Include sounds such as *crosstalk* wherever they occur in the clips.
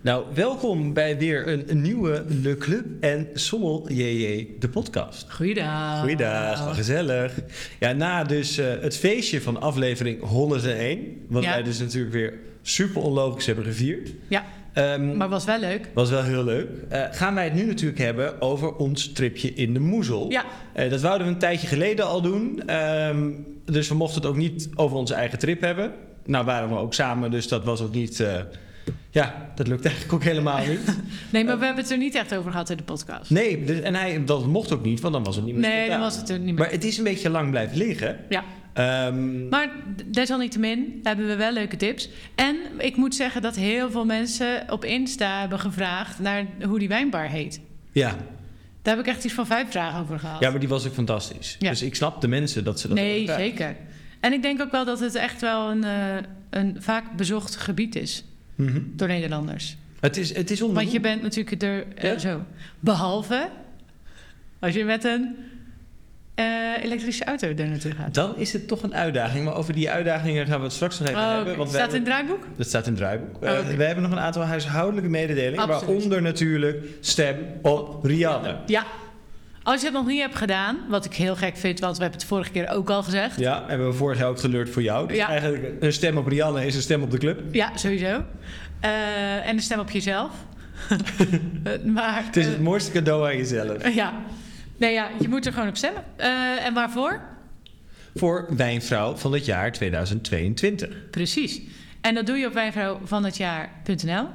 Nou, welkom bij weer een nieuwe Le Club en Sommel JJ, de podcast. Goeiedag. Goeiedag, Ah. wat gezellig. Ja, na dus eh, het feestje van aflevering 101, wat Ja. wij dus natuurlijk weer super onlogisch hebben gevierd. Ja, Ehm, maar was wel leuk. was wel heel leuk. Eh, gaan wij het nu natuurlijk hebben over ons tripje in de Moezel. Ja, Eh, dat wouden we een tijdje geleden al doen. Ehm, dus we mochten het ook niet over onze eigen trip hebben. Nou waren we ook samen, dus dat was ook niet... eh, ja, dat lukt eigenlijk ook helemaal niet. nee, maar we hebben het er niet echt over gehad in de podcast. Nee, dus- en hij, dat mocht ook niet, want dan was het niet meer Nee, spontaan. dan was het er niet meer. Maar het is een beetje lang blijven liggen. Ja. Ehm, Maar d- desalniettemin hebben we wel leuke tips. En ik moet zeggen dat heel veel mensen op Insta hebben gevraagd naar hoe die wijnbar heet. ja. Daar heb ik echt iets van vijf vragen over gehad. ja, maar die was ook fantastisch. Ja. Dus ik snap de mensen dat ze dat nee, hebben. zeker. En ik denk ook wel dat het echt wel een, eh, een vaak bezocht gebied is Mhm. door Nederlanders. Het is, het is Want je onderzoek. bent natuurlijk er eh, Mhm. Ja. zo. Behalve als je met een eh, elektrische auto er naartoe gaat. Dan is het toch een uitdaging. Maar over die uitdagingen gaan we het straks nog even Oh, oké. hebben. Want wij Staat in hebben- het draaiboek? Dat staat in het draaiboek. Oh, oké. Eh, we hebben nog een aantal huishoudelijke mededelingen. Absoluut. Waaronder natuurlijk stem op Rianne. Ja. Als je het nog niet hebt gedaan, wat ik heel gek vind, want we hebben het vorige keer ook al gezegd. Ja, Ja, hebben we vorig jaar ook geleurd voor jou. Dus Ja. eigenlijk een stem op Rianne is een stem op de club. sowieso. Eh, en de stem op *laughs* jezelf. Eh, maar, Het is het mooiste cadeau aan jezelf. eh, ja. Nee, ja, je moet er gewoon op stemmen. Eh, en waarvoor? Voor Wijnvrouw van het jaar 2022. Precies. En dat doe je op wijnvrouwvanhetjaar.nl.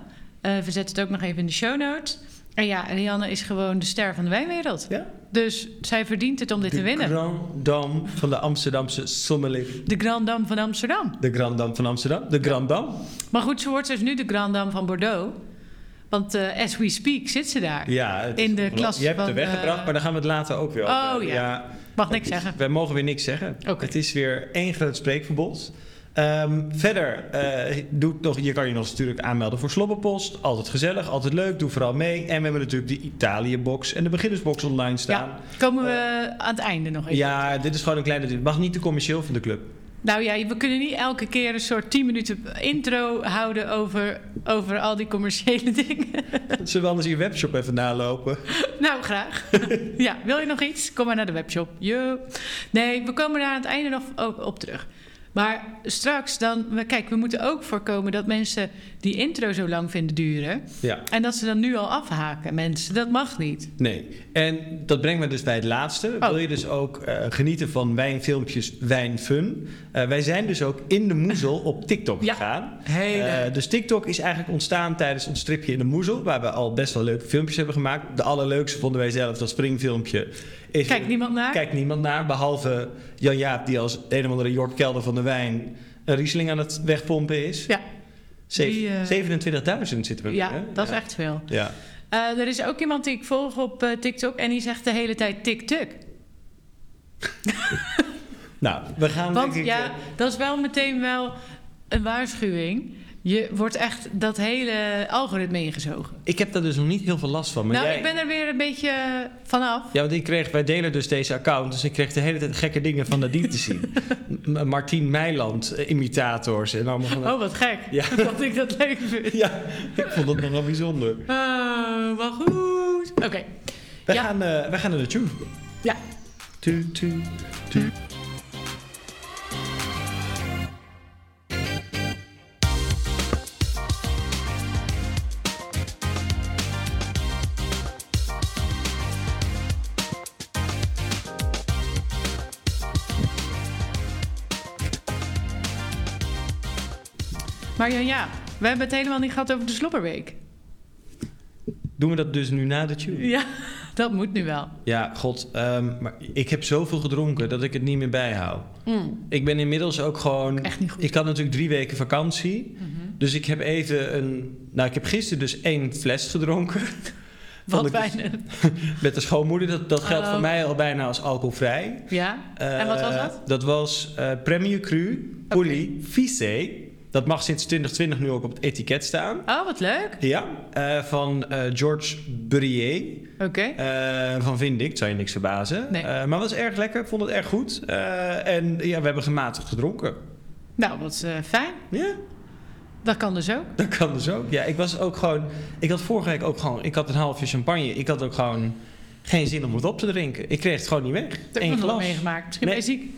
Eh we zetten het ook nog even in de show notes. En ja, Rianne is gewoon de ster van de wijnwereld. Ja. Dus zij verdient het om dit te winnen. De Grand Dame van de Amsterdamse sommelier. De Grand Dame van Amsterdam. De Grand Dame van Amsterdam. De Grand Dame. Maar goed, ze wordt dus nu de Grand Dame van Bordeaux. Want eh, as we speak zit ze daar. Ja, het is In de ongelooflijk. klas Je hebt het van, weggebracht, eh, maar daar gaan we het later ook weer over Oh, hebben. ja. Mag niks zeggen. Wij mogen weer niks zeggen. Oké. Het is weer één groot spreekverbod. Ehm, verder, eh, doe nog, je kan je nog natuurlijk aanmelden voor Slobbenpost. Altijd gezellig, altijd leuk, doe vooral mee. En we hebben natuurlijk de Italië-box en de beginnersbox online staan. Eh. Komen we aan het einde nog Ja, even. dit is gewoon een kleine... Het mag niet te commercieel van de club. Nou ja, we kunnen niet elke keer een soort 10 minuten intro houden over, over al die commerciële *laughs* dingen. Zullen we anders je webshop even nalopen? Nou, graag. *laughs* ja, wil je nog iets? Kom maar naar de webshop. Yo. Nee, we komen daar aan het einde nog op, op terug. Maar straks dan... we- Kijk, we moeten ook voorkomen dat mensen die intro zo lang vinden duren... Ja, en dat ze dan nu al afhaken, mensen. Dat mag niet. nee. En dat brengt me dus bij het laatste. Oh. Wil je dus ook eh, genieten van wijnfilmpjes, wijnfun? Eh, wij zijn dus ook in de moezel op TikTok Ja. gegaan. Hele. Eh, dus TikTok is eigenlijk ontstaan tijdens ons tripje in de Moezel, waar we al best wel leuke filmpjes hebben gemaakt. De allerleukste vonden wij zelf, dat springfilmpje. Is Kijkt niemand naar? Kijkt niemand naar, behalve Jan-Jaap die als een of andere Jort Kelder van de Wijn een Riesling aan het wegpompen is. Ja. Zeven- die, eh, 27.000 zitten we nu, Ja, hè? dat is ja. echt veel. Ja. Eh, er is ook iemand die ik volg op eh, TikTok... en die zegt de hele tijd TikTok. Nou, we gaan Want denk ik... ja, eh, dat is wel meteen wel een waarschuwing. Je wordt echt dat hele algoritme ingezogen. ik heb daar dus nog niet heel veel last van. Maar nou, jij... ik ben er weer een beetje eh, vanaf. Ja, want ik kreeg, wij delen dus deze account, dus ik kreeg de hele tijd gekke dingen van Nadine te *laughs* zien. M- Martien Meiland, eh, imitators en allemaal van... Oh, wat gek. *laughs* Ja. Dat ik dat leuk *laughs* vind. Ja, ik vond dat nogal bijzonder. Oh, wel goed. Oké. We, Ja. gaan, eh, we gaan naar de tune. Ja. Tu, tu, tu. Maar ja, ja, we hebben het helemaal niet gehad over de slobberweek. Doen we dat dus nu na de tune? Ja, dat moet nu wel. Ja, god. ehm, maar ik heb zoveel gedronken dat ik het niet meer bijhoud. Hmm. Ik ben inmiddels ook gewoon... Echt niet goed. Mhm. Ik had natuurlijk drie weken vakantie. Dus ik heb even een... Nou, ik heb gisteren dus één fles gedronken. Vond Wat ik dus- bijna. Met de schoonmoeder. Dat, dat geldt Oh. voor mij al bijna als alcoholvrij. *laughs* Ja. Eh, En wat was dat? Dat was eh Premier Cru Pouli Vissé. Dat mag sinds 2020 nu ook op het etiket staan. Oh, wat leuk. Ja, eh, van eh, George Burrier. Oké. Eh, van Vindict, zou je niks verbazen. Nee. Eh, maar was erg lekker, ik vond het erg goed. Eh, en ja, we hebben gematigd gedronken. Nou, wat eh, fijn. Ja? Dat kan dus ook. Dat kan dus ook. Ja, ik was ook gewoon. Ik had vorige week ook gewoon. Ik had een halfje champagne. Ik had ook gewoon geen zin om het op te drinken. Ik kreeg het gewoon niet weg. Eén Dat heb ik nog glas. nooit meegemaakt. Misschien Nee. ben je ziek.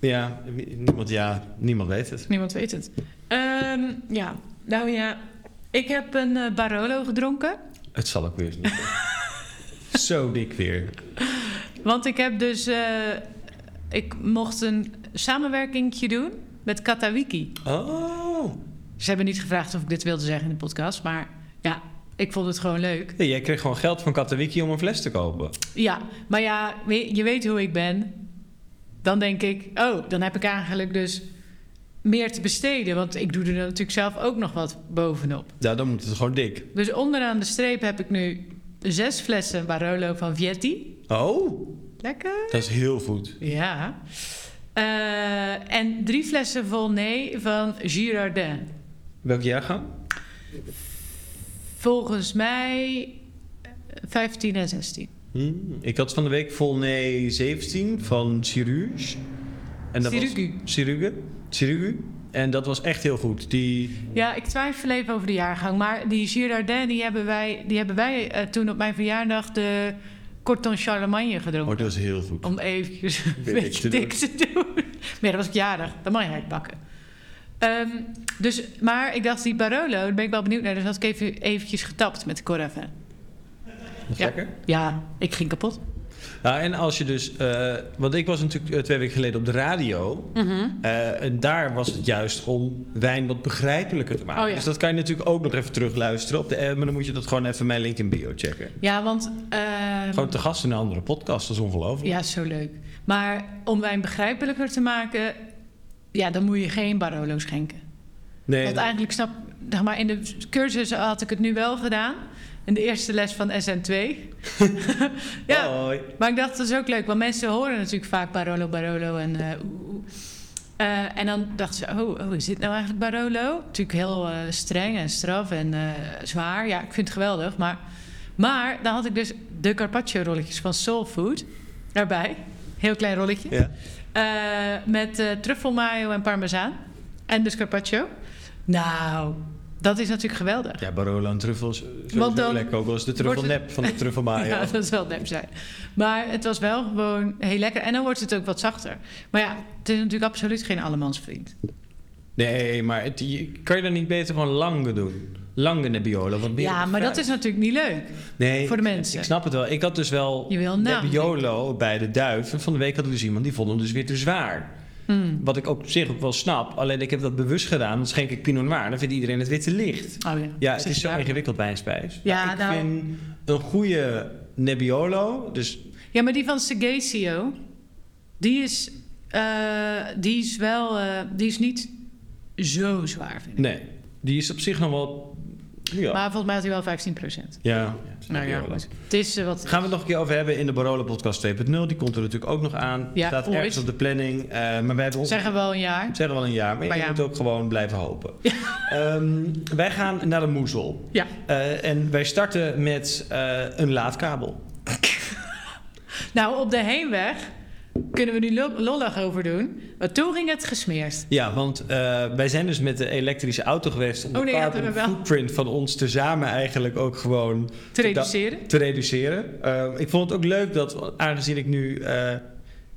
Ja, wie- niemand, ja, niemand weet het. Niemand weet het. Ehm, ja, nou ja. Ik heb een eh, Barolo gedronken. Het zal ook weer eens niet. *laughs* zijn. Zo dik weer. Want ik heb dus... eh, ik mocht een samenwerkingtje doen met Katawiki. Oh. Ze hebben niet gevraagd of ik dit wilde zeggen in de podcast. Maar ja, ik vond het gewoon leuk. Ja, jij kreeg gewoon geld van Katowiki om een fles te kopen. Ja, maar ja, we- je weet hoe ik ben. Dan denk ik, oh, dan heb ik eigenlijk dus meer te besteden. Want ik doe er natuurlijk zelf ook nog wat bovenop. Ja, dan moet het gewoon dik. Dus onderaan de streep heb ik nu zes flessen Barolo van Vietti. Oh, Lekker. dat is heel goed. Ja. Eh, en drie flessen Volnay van Girardin. Welk jaargang? Volgens mij 15 en 16. Hmm, Ik had van de week Volney 17 van Ciruge. En dat Cirugu. was Cirugu. Cirugu. En dat was echt heel goed. Die, Ja, ik twijfel even over de jaargang. Maar die Girardin, die hebben wij, die hebben wij eh, toen op mijn verjaardag de Corton Charlemagne oh, gedronken. dat was heel goed. Om eventjes *laughs* een Weer niks te beetje dik te doen. Maar ja, dat was ik jarig. Dan mag je uitpakken. Ehm, dus, maar ik dacht, die Barolo, daar ben ik wel benieuwd naar. Dus had ik even, eventjes getapt met de Coravin. Was ja. lekker. Ja, ik ging kapot. Ja, en als je dus... eh, want ik was natuurlijk eh, twee weken geleden op de radio. Eh, en daar was het juist om wijn wat begrijpelijker te maken. Oh ja. Dus dat kan je natuurlijk ook nog even terugluisteren. Op de, eh, maar dan moet je dat gewoon even mijn link in bio checken. Ja, want... ehm, Gewoon te gast in een andere podcast, dat is ongelooflijk. Ja, zo leuk. Maar om wijn begrijpelijker te maken... Ja, dan moet je geen Barolo schenken. Nee, Want eigenlijk snap, zeg maar, in de cursus had ik het nu wel gedaan. In de eerste les van SN2. *laughs* ja, hoi. maar ik dacht dat is ook leuk, want mensen horen natuurlijk vaak Barolo, Barolo en eh, oeh, oeh. Eh, en dan dachten ze, oh, oh, is dit nou eigenlijk Barolo? Natuurlijk heel eh, streng en straf en eh, zwaar. Ja, ik vind het geweldig. Maar, maar dan had ik dus de Carpaccio rolletjes van Soul Food erbij. Heel klein rolletje. Ja. Eh, met eh truffelmayo en parmezaan. En dus carpaccio. Nou, dat is natuurlijk geweldig. Ja, Barolo en truffels. Zo Want dan lekker ook wel eens de wordt het- truffelnep van de *laughs* truffelmayo. Ja, dat zal nep zijn. Maar het was wel gewoon heel lekker. En dan wordt het ook wat zachter. Maar ja, het is natuurlijk absoluut geen allemansvriend. Nee, maar het, je- kan je dan niet beter gewoon lange doen? Lange Nebbiolo. Want meer Ja, maar dat is natuurlijk niet leuk nee, voor de Ik mensen. snap het wel. Ik had dus wel Je wil naam Nebbiolo bij de duif. En van de week had ik dus iemand die vond hem dus weer te zwaar. Hmm. Wat ik ook op zich ook wel snap. Alleen ik heb dat bewust gedaan. Dan schenk ik Pinot Noir. Dan vindt iedereen het witte licht. Oh ja, Ja, het Zit is je zo daar? ingewikkeld bij een spijs. Ja, Maar ik nou- vind een goede Nebbiolo. Dus Ja, maar die van Segesio, die is, eh, die is wel, eh, die is niet zo zwaar, vind ik. nee, die is op zich nog wel... Ja. Maar volgens mij had hij wel 15 ja. Nou ja, Nebbiolo. goed. Het is eh, wat. Gaan we het nog een keer over hebben in de Barola Podcast 2.0. Die komt er natuurlijk ook nog aan. Ja, Staat ooit. ergens op de planning. eh, maar wij hebben ons Zeggen we wel een jaar. zeggen wel een jaar. Maar, Maar je ja. moet ook gewoon blijven hopen. *laughs* Ehm, wij gaan naar de moezel. Ja. Eh, en wij starten met eh, een laadkabel. Nou, op de heenweg kunnen we nu lo- lollig over doen. Maar toen ging het gesmeerd. Ja, want eh, wij zijn dus met de elektrische auto geweest om Oh nee, de ja, dat carbon hebben we wel. footprint van ons tezamen eigenlijk ook gewoon Te reduceren. te reduceren. Eh, ik vond het ook leuk dat, aangezien ik nu eh,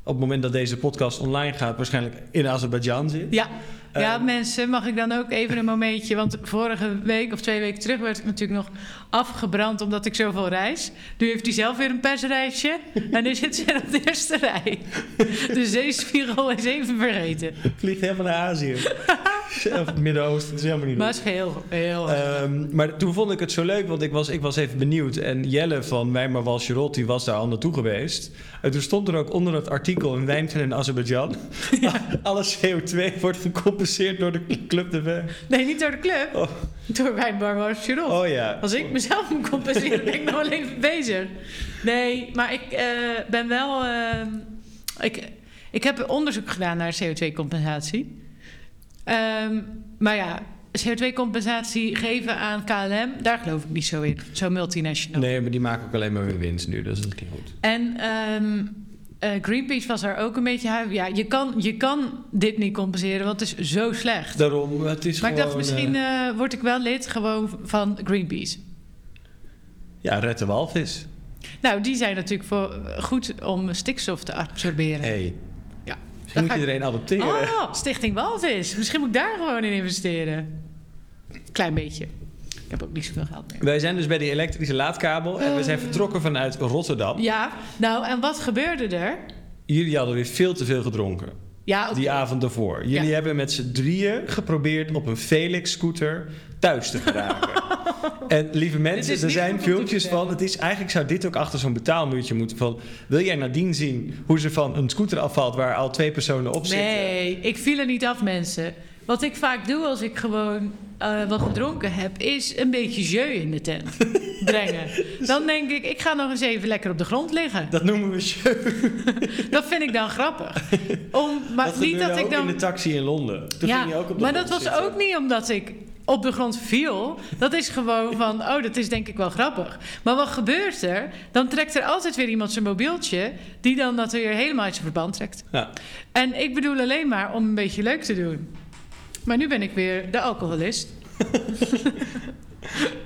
op het moment dat deze podcast online gaat, waarschijnlijk in Azerbeidzjan zit. Ja. Ja, Ehm. mensen, mag ik dan ook even een momentje? Want vorige week of twee weken terug werd ik natuurlijk nog afgebrand omdat ik zoveel reis. Nu heeft hij zelf weer een persreisje en nu *laughs* zit ze op de eerste rij. De zeespiegel is even vergeten. Vliegt helemaal naar *laughs* Azië. of het Midden-Oosten, dat is helemaal niet Maar leuk. het is heel, heel. Ehm, maar toen vond ik het zo leuk, want ik was, ik was even benieuwd. En Jelle van Wij maar was Charlotte, die was daar al naartoe geweest. En toen stond er ook onder het artikel een wijntje in *laughs* Azerbeidzjan. Alle CO2 wordt gecompenseerd door de Club de Wijn. Nee, niet door de club, Oh. door Wijnbar Mars Chirol. Oh ja. Als ik mezelf moet compenseren, ben ik nog wel even bezig. Nee, maar ik eh, ben wel. eh, ik, ik heb onderzoek gedaan naar CO2-compensatie. Ehm, maar ja, CO2-compensatie geven aan KLM, daar geloof ik niet zo in. Zo multinational. Nee, maar die maken ook alleen maar weer winst nu, dus dat is niet goed. En ehm, eh, Greenpeace was daar ook een beetje huiverig. Ja, je kan, je kan dit niet compenseren, want het is zo slecht. Daarom, het is maar ik dacht, gewoon, misschien eh, eh, word ik wel lid gewoon van Greenpeace. ja, red de walvis. Nou, die zijn natuurlijk voor, eh, goed om stikstof te absorberen. Hey. Ja. Misschien moet ga ik- iedereen adopteren. Oh, Stichting Walvis. Misschien moet ik daar gewoon in investeren. Klein beetje. Ik heb ook niet zoveel geld meer. Wij zijn dus bij die elektrische laadkabel en we zijn vertrokken vanuit Rotterdam. Ja, nou en wat gebeurde er? Jullie hadden weer veel te veel gedronken Ja, oké. die avond daarvoor. Jullie Ja. hebben met z'n drieën geprobeerd op een Felix-scooter thuis te *laughs* geraken. en lieve Dit mensen, is er niet goed zijn om te filmpjes vertellen. van. Het is, eigenlijk zou dit ook achter zo'n betaalmuurtje moeten. Van, wil jij nadien zien hoe ze van een scooter afvalt waar al twee personen op zitten? Nee, ik viel er niet af, mensen. Wat ik vaak doe als ik gewoon eh, wat gedronken heb, is een beetje jeu in de *laughs* tent brengen. Dan denk ik, ik ga nog eens even lekker op de grond liggen. Dat noemen we show. Dat vind ik dan grappig. *laughs* Om, maar dat niet gebeurde dat ook ik dan. in de taxi in Londen. Toen ja, ging je ook op de maar grond dat was zitten. ook niet omdat ik op de grond viel. Dat is gewoon van, oh, dat is denk ik wel grappig. Maar wat gebeurt er? Dan trekt er altijd weer iemand zijn mobieltje... die dan dat weer helemaal uit zijn verband trekt. Ja. En ik bedoel alleen maar om een beetje leuk te doen. Maar nu ben ik weer de alcoholist. *laughs*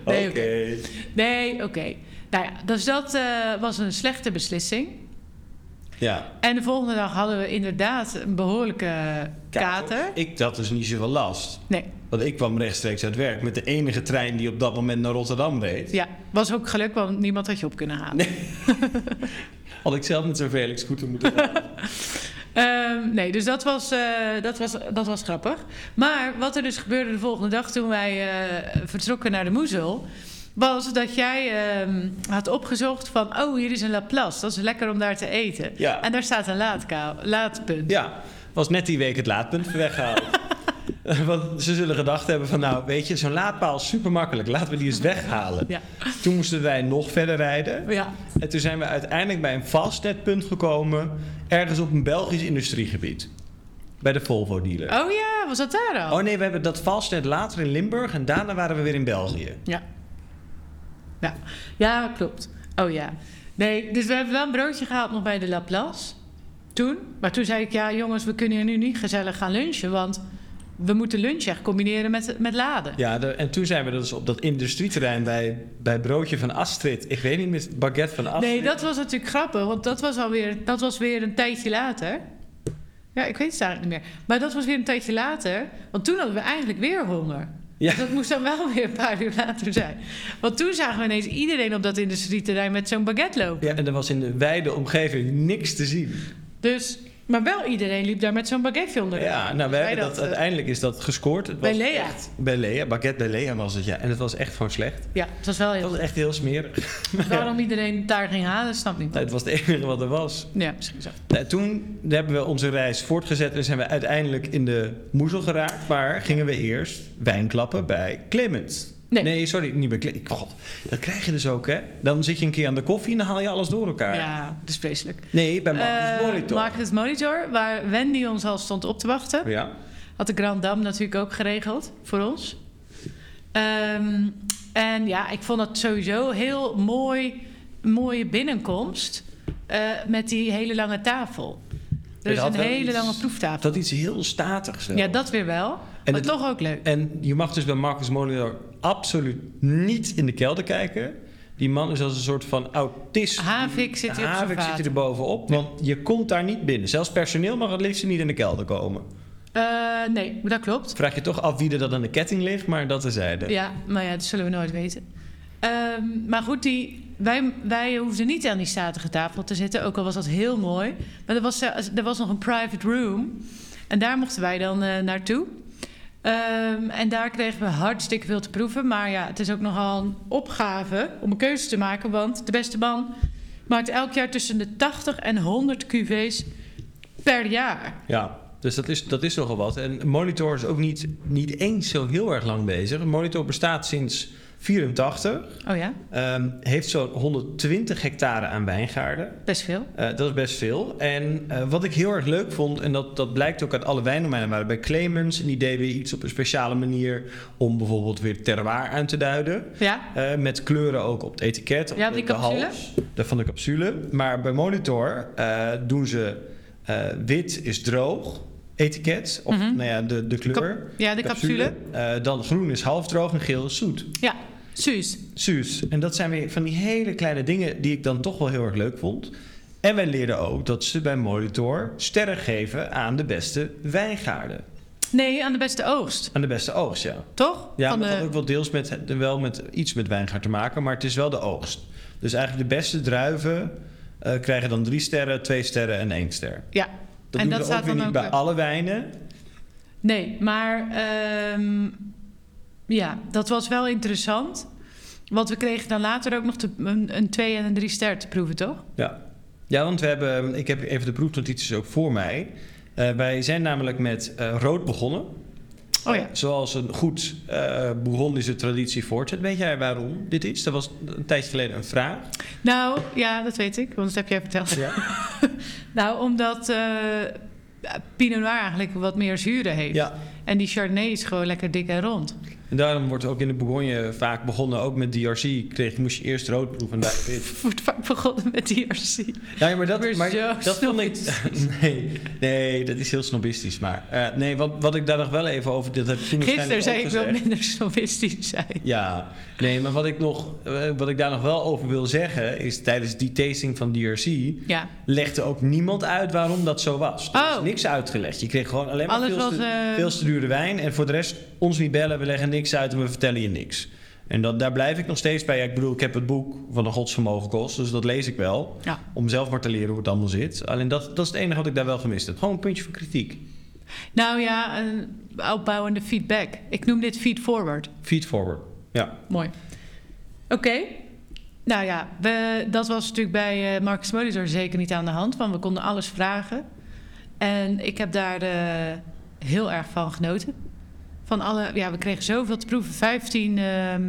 Nee, Oké. oké. Nee, oké. Nou ja, dus dat eh, was een slechte beslissing. Ja. En de volgende dag hadden we inderdaad een behoorlijke kater. Ik had dus niet zoveel last. Nee, Want ik kwam rechtstreeks uit werk met de enige trein die op dat moment naar Rotterdam reed. ja. Was ook geluk, want niemand had je op kunnen halen. Nee. Had ik zelf met zo'n Felix scooter moeten *laughs* gaan. Ehm, nee, dus dat was, eh, dat, was, dat was grappig. Maar wat er dus gebeurde de volgende dag toen wij eh, vertrokken naar de Moezel... was dat jij ehm, had opgezocht van... oh, hier is een Laplace, dat is lekker om daar te eten. Ja. En daar staat een laadka- laadpunt. ja, was net die week het laadpunt weggehaald. *laughs* Want ze zullen gedacht hebben van nou weet je, zo'n laadpaal is super makkelijk. Laten we die eens weghalen. Ja. Toen moesten wij nog verder rijden. ja. En toen zijn we uiteindelijk bij een vastnetpunt gekomen. Ergens op een Belgisch industriegebied. Bij de Volvo dealer. Oh ja, was dat daar al? Oh nee, we hebben dat vastnet later in Limburg en daarna waren we weer in België. Ja. Ja. ja, klopt. Oh ja. Nee, dus we hebben wel een broodje gehaald nog bij de Laplace. Toen. Maar toen zei ik, ja jongens, we kunnen hier nu niet gezellig gaan lunchen. Want we moeten lunch echt combineren met, met laden. Ja, de- en toen zijn we dus op dat industrieterrein bij, bij Broodje van Astrid. Ik weet niet meer, Baguette van Astrid. nee, dat was natuurlijk grappig. Want dat was alweer dat was weer een tijdje later. Ja, ik weet het eigenlijk niet meer. Maar dat was weer een tijdje later. Want toen hadden we eigenlijk weer honger. Ja. Dus dat moest dan wel weer een paar uur later zijn. Want toen zagen we ineens iedereen op dat industrieterrein met zo'n baguette lopen. Ja, en er was in de wijde omgeving niks te zien. Dus, maar wel iedereen liep daar met zo'n baguette onder. Ja, nou, wij hebben dat, dat, eh, uiteindelijk is dat gescoord. Het Bij was Lea. echt- bij Lea, Baguette bij Lea was het, ja. En het was echt gewoon slecht. Ja, het was wel Het heel... was echt heel smerig. *laughs* Waarom iedereen daar ging halen, snap ik niet. Het was het enige wat er was. Ja, misschien zo. Nou, toen hebben we onze reis voortgezet en zijn we uiteindelijk in de moezel geraakt. Maar gingen we eerst wijn klappen bij Clement. Nee. sorry, niet bij Clement. God, dat krijg je dus ook, hè? Dan zit je een keer aan de koffie en dan haal je alles door elkaar. Ja, dat is vreselijk. Nee, bij Marcus Eh, Monitor. Marcus Monitor, waar Wendy ons al stond op te wachten. Ja. Had de Grand Dam natuurlijk ook geregeld voor ons. Ehm, en ja, ik vond dat sowieso heel mooi, mooie binnenkomst. eh, met die hele lange tafel. Er Het is had een wel hele iets- lange proeftafel. Dat iets heel statigs wel. Ja, dat weer wel. maar het- toch ook leuk. En je mag dus bij Marcus Molitor absoluut niet in de kelder kijken. Die man is als een soort van autist. Havik zit hier op zijn Havik vaat. zit er bovenop, want je komt daar niet binnen. Zelfs personeel mag het liefst niet in de kelder komen. Eh, nee, dat klopt. Vraag je toch af wie er dat aan de ketting ligt, maar dat terzijde. Ja, maar ja, dat zullen we nooit weten. Ehm, maar goed, die, wij, wij hoefden niet aan die statige tafel te zitten, ook al was dat heel mooi. Maar er was, eh, er was nog een private room en daar mochten wij dan eh, naartoe. Ehm, en daar kregen we hartstikke veel te proeven. Maar ja, het is ook nogal een opgave om een keuze te maken. Want de beste man maakt elk jaar tussen de 80 en 100 cuvées per jaar. Ja, dus dat is, dat is nogal wat. En Monitor is ook niet, niet eens zo heel erg lang bezig. Monitor bestaat sinds 84. Oh ja, ehm, heeft zo'n 120 hectare aan wijngaarden. best veel. Eh, dat is best veel. En eh, wat ik heel erg leuk vond, en dat, dat blijkt ook uit alle wijndomeinen, waren bij Clemens. En die deden iets op een speciale manier om bijvoorbeeld weer terroir aan te duiden. Ja, Eh, met kleuren ook op het etiket. op Ja, de- die de capsule? hals, de- van de capsule. Maar bij Monitor eh, doen ze eh, wit is droog etiket. Of Mhm. nou ja, de, de kleur. ja de capsule. Eh, dan groen is half droog en geel is zoet. Ja, Suus. Suus. En dat zijn weer van die hele kleine dingen die ik dan toch wel heel erg leuk vond. En wij leerden ook dat ze bij Molitor sterren geven aan de beste wijngaarden. Nee, aan de beste oogst, Aan de beste oogst, ja. toch? Ja, Van maar dat de- had ook wel deels met, eh, wel met iets met wijngaard te maken, maar het is wel de oogst. Dus eigenlijk de beste druiven eh, krijgen dan drie sterren, twee sterren en één ster. Ja. Dat En doen dat we staat ook weer dan niet ook, bij eh, alle wijnen. Nee, maar ehm, ja, dat was wel interessant. Want we kregen dan later ook nog te- een, een twee en een drie ster te proeven, toch? Ja. ja, want we hebben, ik heb even de proefnotities ook voor mij. Eh, wij zijn namelijk met eh, rood begonnen. Oh ja. Zoals een goed eh Bourgondische traditie voortzet. Weet jij waarom dit is? Dat was een tijdje geleden een vraag. Nou, ja, dat weet ik, want dat heb jij verteld. Ja, Nou, omdat eh, Pinot Noir eigenlijk wat meer zuren heeft. ja. En die Chardonnay is gewoon lekker dik en rond. *laughs* En daarom wordt ook in de Bourgogne vaak begonnen, ook met DRC. Kreeg, moest je eerst rood proeven en daar wit. Wordt vaak begonnen met DRC. Ja, ja, maar dat, Weer maar zo dat vond ik... *laughs* Nee, nee, dat is heel snobistisch. Maar eh, nee, wat, wat ik daar nog wel even over... Dat heb ik toen Gisteren waarschijnlijk zei ook ik wel gezegd. minder snobistisch zijn. Ja, nee, maar wat ik, nog, eh, wat ik daar nog wel over wil zeggen... is tijdens die tasting van DRC... Ja, legde ook niemand uit waarom dat zo was. Er Oh. is niks uitgelegd. Je kreeg gewoon alleen maar Alles veel, was, te, eh, veel te dure wijn. En voor de rest, ons niet bellen, we leggen niks uit en we vertellen je niks. En dat, daar blijf ik nog steeds bij. Ja, ik bedoel, ik heb het boek van een godsvermogen kost, dus dat lees ik wel. Ja. Om zelf maar te leren hoe het allemaal zit. Alleen dat, dat is het enige wat ik daar wel gemist heb. Gewoon een puntje van kritiek. nou ja, een opbouwende feedback. Ik noem dit feed forward. Feed forward. Ja. Mooi. Oké. Nou ja, we, dat was natuurlijk bij eh Marcus Molitor zeker niet aan de hand, want we konden alles vragen. En ik heb daar eh, heel erg van genoten. Van alle, ja, we kregen zoveel te proeven. 15, ehm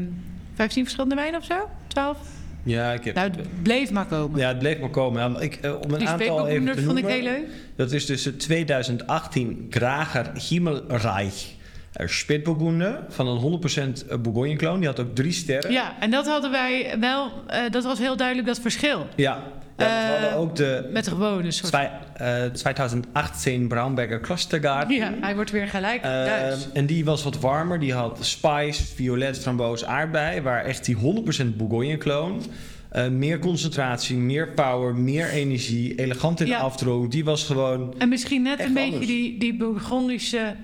15 verschillende wijnen of zo? 12? Ja, ik heb... Nou, het bleef maar komen. ja, het bleef maar komen. Ja, Ik, eh, om een Die aantal even speelboeknoemer te vond ik noemen. heel leuk. Dat is dus tussen 2018 Grager Himmelreich eh, Spitburgunder van een 100% Bourgogne-kloon. Die had ook drie sterren. Ja, en dat hadden wij wel, eh, dat was heel duidelijk dat verschil. ja. Ja, Eh, we hadden ook de Met de gewone soort. twee, eh, 2018 Braunberger Klostergarten. Ja, hij wordt weer gelijk. Eh, Duits. en die was wat warmer. Die had spice, violet, framboos, aardbei. Waar echt die 100% Bourgogne-kloon. eh, meer concentratie, meer power, meer energie. Elegant in Ja. de afdronk. Die was gewoon En misschien net Echt een beetje anders. die, die Bourgondische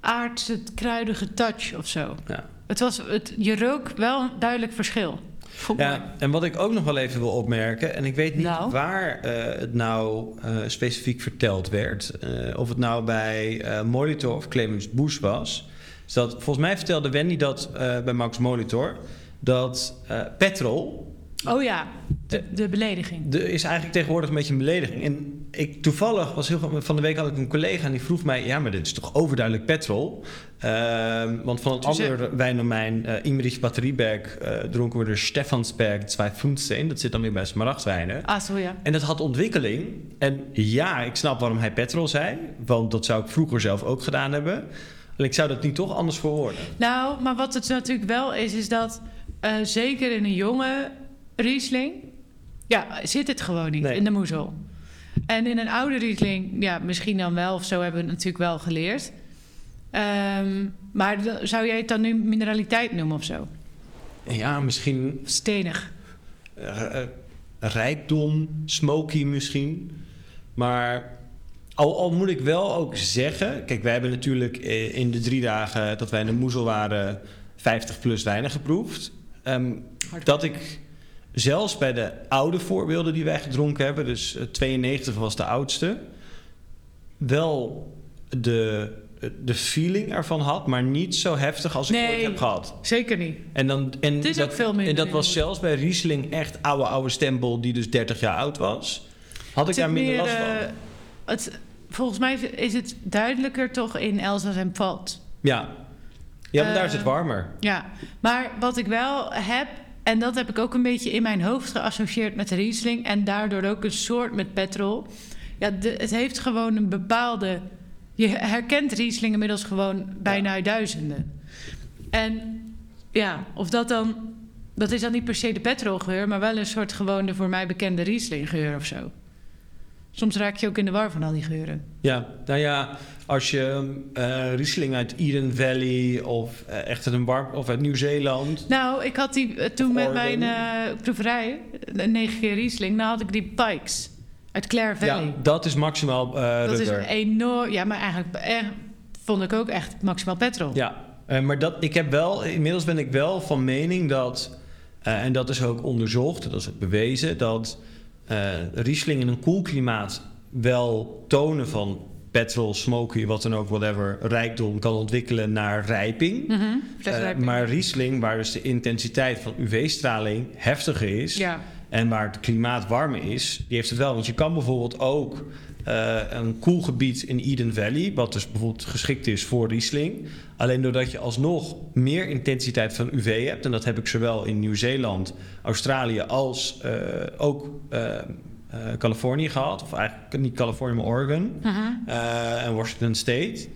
aardse kruidige touch of zo. Ja. Het was, het, je rook wel een duidelijk verschil. Vond ik mooi. Ja, en wat ik ook nog wel even wil opmerken, en ik weet niet Nou. waar eh, het nou eh, specifiek verteld werd, eh, of het nou bij eh Molitor of Clemens Boes was, is dat volgens mij vertelde Wendy dat eh, bij Max Molitor, dat eh, petrol Oh ja, de, de belediging. de, is eigenlijk tegenwoordig een beetje een belediging. En ik toevallig was heel van de week had ik een collega en die vroeg mij, ja, maar dit is toch overduidelijk petrol? Ehm, want van een Toen zei- ander wijndomein, eh Imrich Batterieberg, eh, dronken we de Stefansberg 215. Dat zit dan weer bij smaragdwijnen. Ah, zo ja. En dat had ontwikkeling. En ja, ik snap waarom hij petrol zei. Want dat zou ik vroeger zelf ook gedaan hebben. En ik zou dat niet toch anders verwoorden. Nou, maar wat het natuurlijk wel is, is dat eh, zeker in een jonge Riesling, ja, zit het gewoon niet Nee. in de moezel. En in een oude Riesling, ja, misschien dan wel, of zo hebben we het natuurlijk wel geleerd. Ehm, maar d- zou jij het dan nu mineraliteit noemen of zo? Ja, misschien Stenig. eh, eh, rijkdom, smoky misschien. Maar al, al moet ik wel ook zeggen... Kijk, wij hebben natuurlijk eh, in de drie dagen dat wij in de moezel waren... 50 plus wijnen geproefd. Ehm, dat ik zelfs bij de oude voorbeelden die wij gedronken hebben... dus eh, 92 was de oudste... wel de, de feeling ervan had... maar niet zo heftig als ik Nee. ooit heb gehad. Zeker niet. En dan, en Het is dat, ook veel minder En dat in was de- zelfs bij Riesling echt oude, oude stempel, die dus 30 jaar oud was. Had ik Het daar zit minder meer, last van. eh, het, volgens mij is het duidelijker toch in Elsass en Pfalz. ja. Ja, maar daar Eh, is het warmer. Ja, maar wat ik wel heb, en dat heb ik ook een beetje in mijn hoofd geassocieerd met de Riesling en daardoor ook een soort met petrol. Ja, de- het heeft gewoon een bepaalde. Je herkent Riesling inmiddels gewoon bijna uit duizenden. En ja, of dat dan. Dat is dan niet per se de petrolgeur, maar wel een soort gewoon de voor mij bekende Rieslinggeur of zo. Soms raak je ook in de war van al die geuren. Ja, nou ja, als je eh Riesling uit Eden Valley of eh, echt uit een warm... of uit Nieuw-Zeeland... Nou, ik had die eh, toen met Oregon. mijn eh, proeverij, eh, negen keer Riesling, nou had ik die Pikes uit Clare Valley. Ja, dat is maximaal eh dat is Rutger. enorm. Ja, maar eigenlijk eh, vond ik ook echt maximaal petrol. Ja, eh, maar dat, ik heb wel, inmiddels ben ik wel van mening dat, eh, en dat is ook onderzocht, dat is ook bewezen, dat eh, Riesling in een koel klimaat wel tonen van petrol, smoky, wat dan ook, whatever, rijkdom kan ontwikkelen naar rijping. Mhm, Eh, fleschrijping. maar Riesling, waar dus de intensiteit van UV-straling heftig is ja. en waar het klimaat warm is, die heeft het wel. Want je kan bijvoorbeeld ook eh, een koelgebied in Eden Valley, wat dus bijvoorbeeld geschikt is voor Riesling. Alleen doordat je alsnog meer intensiteit van UV hebt, en dat heb ik zowel in Nieuw-Zeeland, Australië als eh, ook eh, eh, Californië gehad, of eigenlijk niet Californië, maar Oregon Mhm. eh, en Washington State.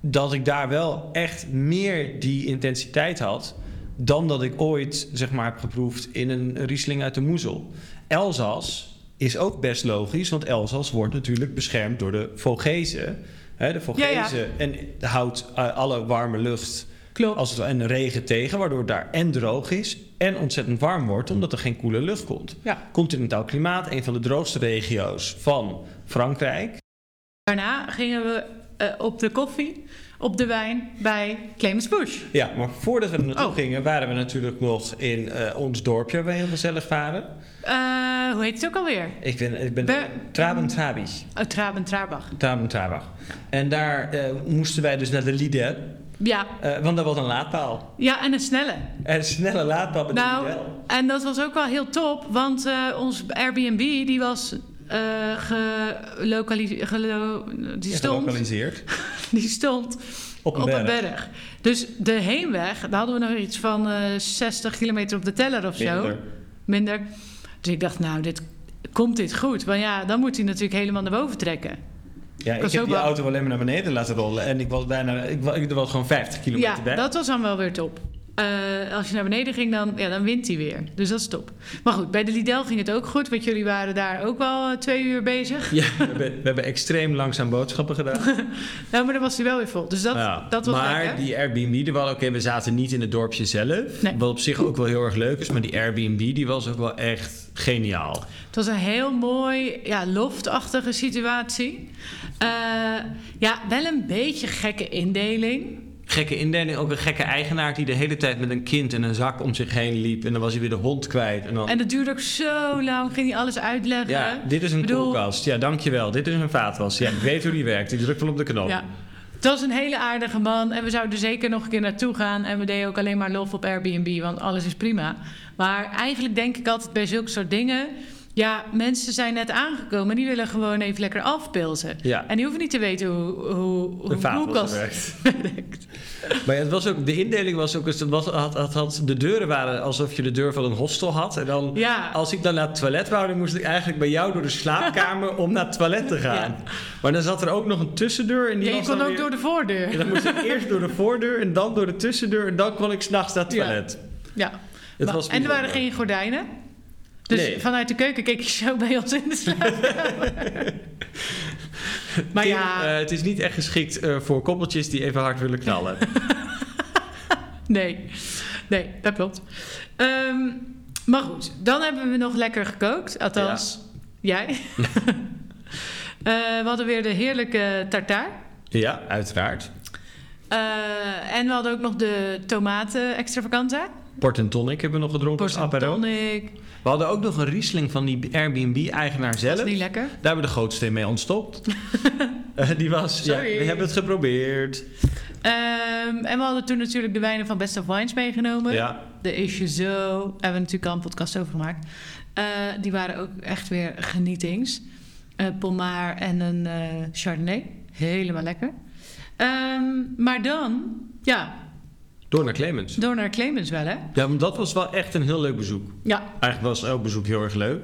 Dat ik daar wel echt meer die intensiteit had. dan dat ik ooit zeg maar, heb geproefd in een Riesling uit de Moezel. Elzas is ook best logisch, want Elzas wordt natuurlijk beschermd door de Vogezen. Hè, de Vogezen en houdt eh, alle warme lucht Klopt. als het, en regen tegen, waardoor het daar en droog is en ontzettend warm wordt, omdat er geen koele lucht komt. Ja. Continentaal klimaat, een van de droogste regio's van Frankrijk. Daarna gingen we eh, op de koffie, op de wijn bij Clemens Bush. Ja, maar voordat we er naartoe Oh. gingen, waren we natuurlijk nog in eh, ons dorpje waar we heel gezellig waren. Eh, hoe heet het ook alweer? Ik ben, ik ben Ber- Traben-Trabig. Oh, Traben Trabach. Traben-Trabach. En daar eh, moesten wij dus naar de Lidl, Ja. eh, want daar was een laadpaal. ja, en een snelle. En een snelle laadpaal met de Nou, Lidl. en dat was ook wel heel top, want eh, ons Airbnb die was eh gelokaliseerd. die, stond, Gelokaliseerd. die stond Op een op berg. een berg. Dus de heenweg, daar hadden we nog iets van eh, 60 kilometer op de teller of zo. Minder. Minder. Dus ik dacht, nou, dit, komt dit goed? Want ja, dan moet hij natuurlijk helemaal naar boven trekken. Ja, ik was heb ook die wel- auto alleen maar naar beneden laten rollen. En ik was bijna, ik, wa- ik was gewoon 50 kilometer ja, bij. dat was dan wel weer top. Eh, als je naar beneden ging, dan, ja, dan wint hij weer. Dus dat is top. Maar goed, bij de Lidl ging het ook goed, want jullie waren daar ook wel eh, twee uur bezig. Ja, we hebben, we hebben extreem langzaam boodschappen gedaan. Nou, maar dan was hij wel weer vol. Dus dat, Ja, dat was maar lekker. die Airbnb, die wel oké, we zaten niet in het dorpje zelf. Nee. Wat op zich ook wel heel erg leuk is, maar die Airbnb die was ook wel echt geniaal. Het was een heel mooi, ja, loftachtige situatie. Eh, ja, wel een beetje gekke indeling. Gekke indeling, ook een gekke eigenaar die de hele tijd met een kind en een zak om zich heen liep. En dan was hij weer de hond kwijt. En dan, En dat duurde ook zo lang, ging hij alles uitleggen. ja, dit is een Ik bedoel- koelkast. Ja, dankjewel. Dit is een vaatwas. Ja, ik weet hoe die werkt. Ik druk wel op de knop. Ja. Het was een hele aardige man en we zouden zeker nog een keer naartoe gaan. En we deden ook alleen maar lof op Airbnb, want alles is prima. Maar eigenlijk denk ik altijd bij zulke soort dingen... Ja, mensen zijn net aangekomen en die willen gewoon even lekker afpilsen. Ja. En die hoeven niet te weten hoe, hoe, hoe De een vaatwas koelkast werkt. *laughs* werkt. Maar ja, het was ook, de indeling was ook, het was, had, had, had- de deuren waren alsof je de deur van een hostel had. En dan, Ja. als ik dan naar het toilet wou, dan moest ik eigenlijk bij jou door de *laughs* slaapkamer om naar het toilet te gaan. Ja. Maar dan zat er ook nog een tussendeur. En die Ja, je was kon dan ook weer- door de voordeur. En dan moest ik eerst door de voordeur en dan door de tussendeur. En dan kon ik s'nachts naar het Ja. toilet. Ja. Het Maar- was en er waren bijzonder. geen gordijnen. Dus Nee. vanuit de keuken keek je zo bij ons *laughs* in de slaapkamer. maar Tim, ja, eh, het is niet echt geschikt eh, voor koppeltjes die even hard willen knallen. *laughs* nee. Nee, dat klopt. Ehm, maar goed, dan hebben we nog lekker gekookt. Althans, jij. *laughs* Eh, we hadden weer de heerlijke tartaar. ja, uiteraard. Eh, en we hadden ook nog de tomaten extravaganza. Port en tonic hebben we nog gedronken. als Porcelain apero. tonic. We hadden ook nog een riesling van die Airbnb-eigenaar zelf. Dat is niet lekker. Daar hebben we de gootsteen mee *laughs* ontstopt. Eh, die was, ja, Sorry. we hebben het geprobeerd. Ehm, en we hadden toen natuurlijk de wijnen van Best of Wines meegenomen. Ja, De Is Je Zo. Hebben we natuurlijk al een podcast over gemaakt. Eh, die waren ook echt weer genietings. Eh Pomar en een eh, Chardonnay. Helemaal lekker. Ehm, maar dan, ja, Door naar Clemens. Door naar Clemens wel, hè? Ja, maar dat was wel echt een heel leuk bezoek. Ja, Eigenlijk was elk bezoek heel erg leuk.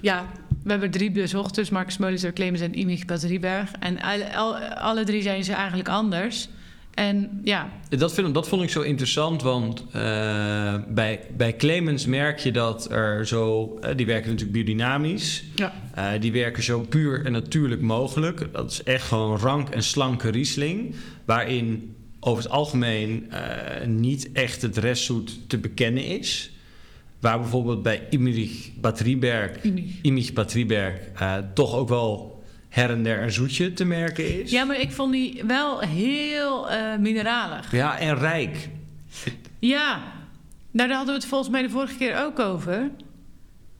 ja. We hebben drie bezochters, Marcus Molitor, Clemens en Imig Rieberg. En al- al- alle drie zijn ze eigenlijk anders. En ja, Dat, vind, ik- dat vond ik zo interessant, want eh, bij, bij Clemens merk je dat er zo... eh, die werken natuurlijk biodynamisch. ja. Eh, die werken zo puur en natuurlijk mogelijk. Dat is echt gewoon rank en slanke Riesling. Waarin over het algemeen eh, niet echt het restzoet te bekennen is. Waar bijvoorbeeld bij Imrich Bad Rieberg, Imig. Imrich Bad Rieberg eh, toch ook wel her en der een zoetje te merken is. Ja, maar ik vond die wel heel eh, mineralig. Ja, en rijk. Ja, nou daar hadden we het volgens mij de vorige keer ook over.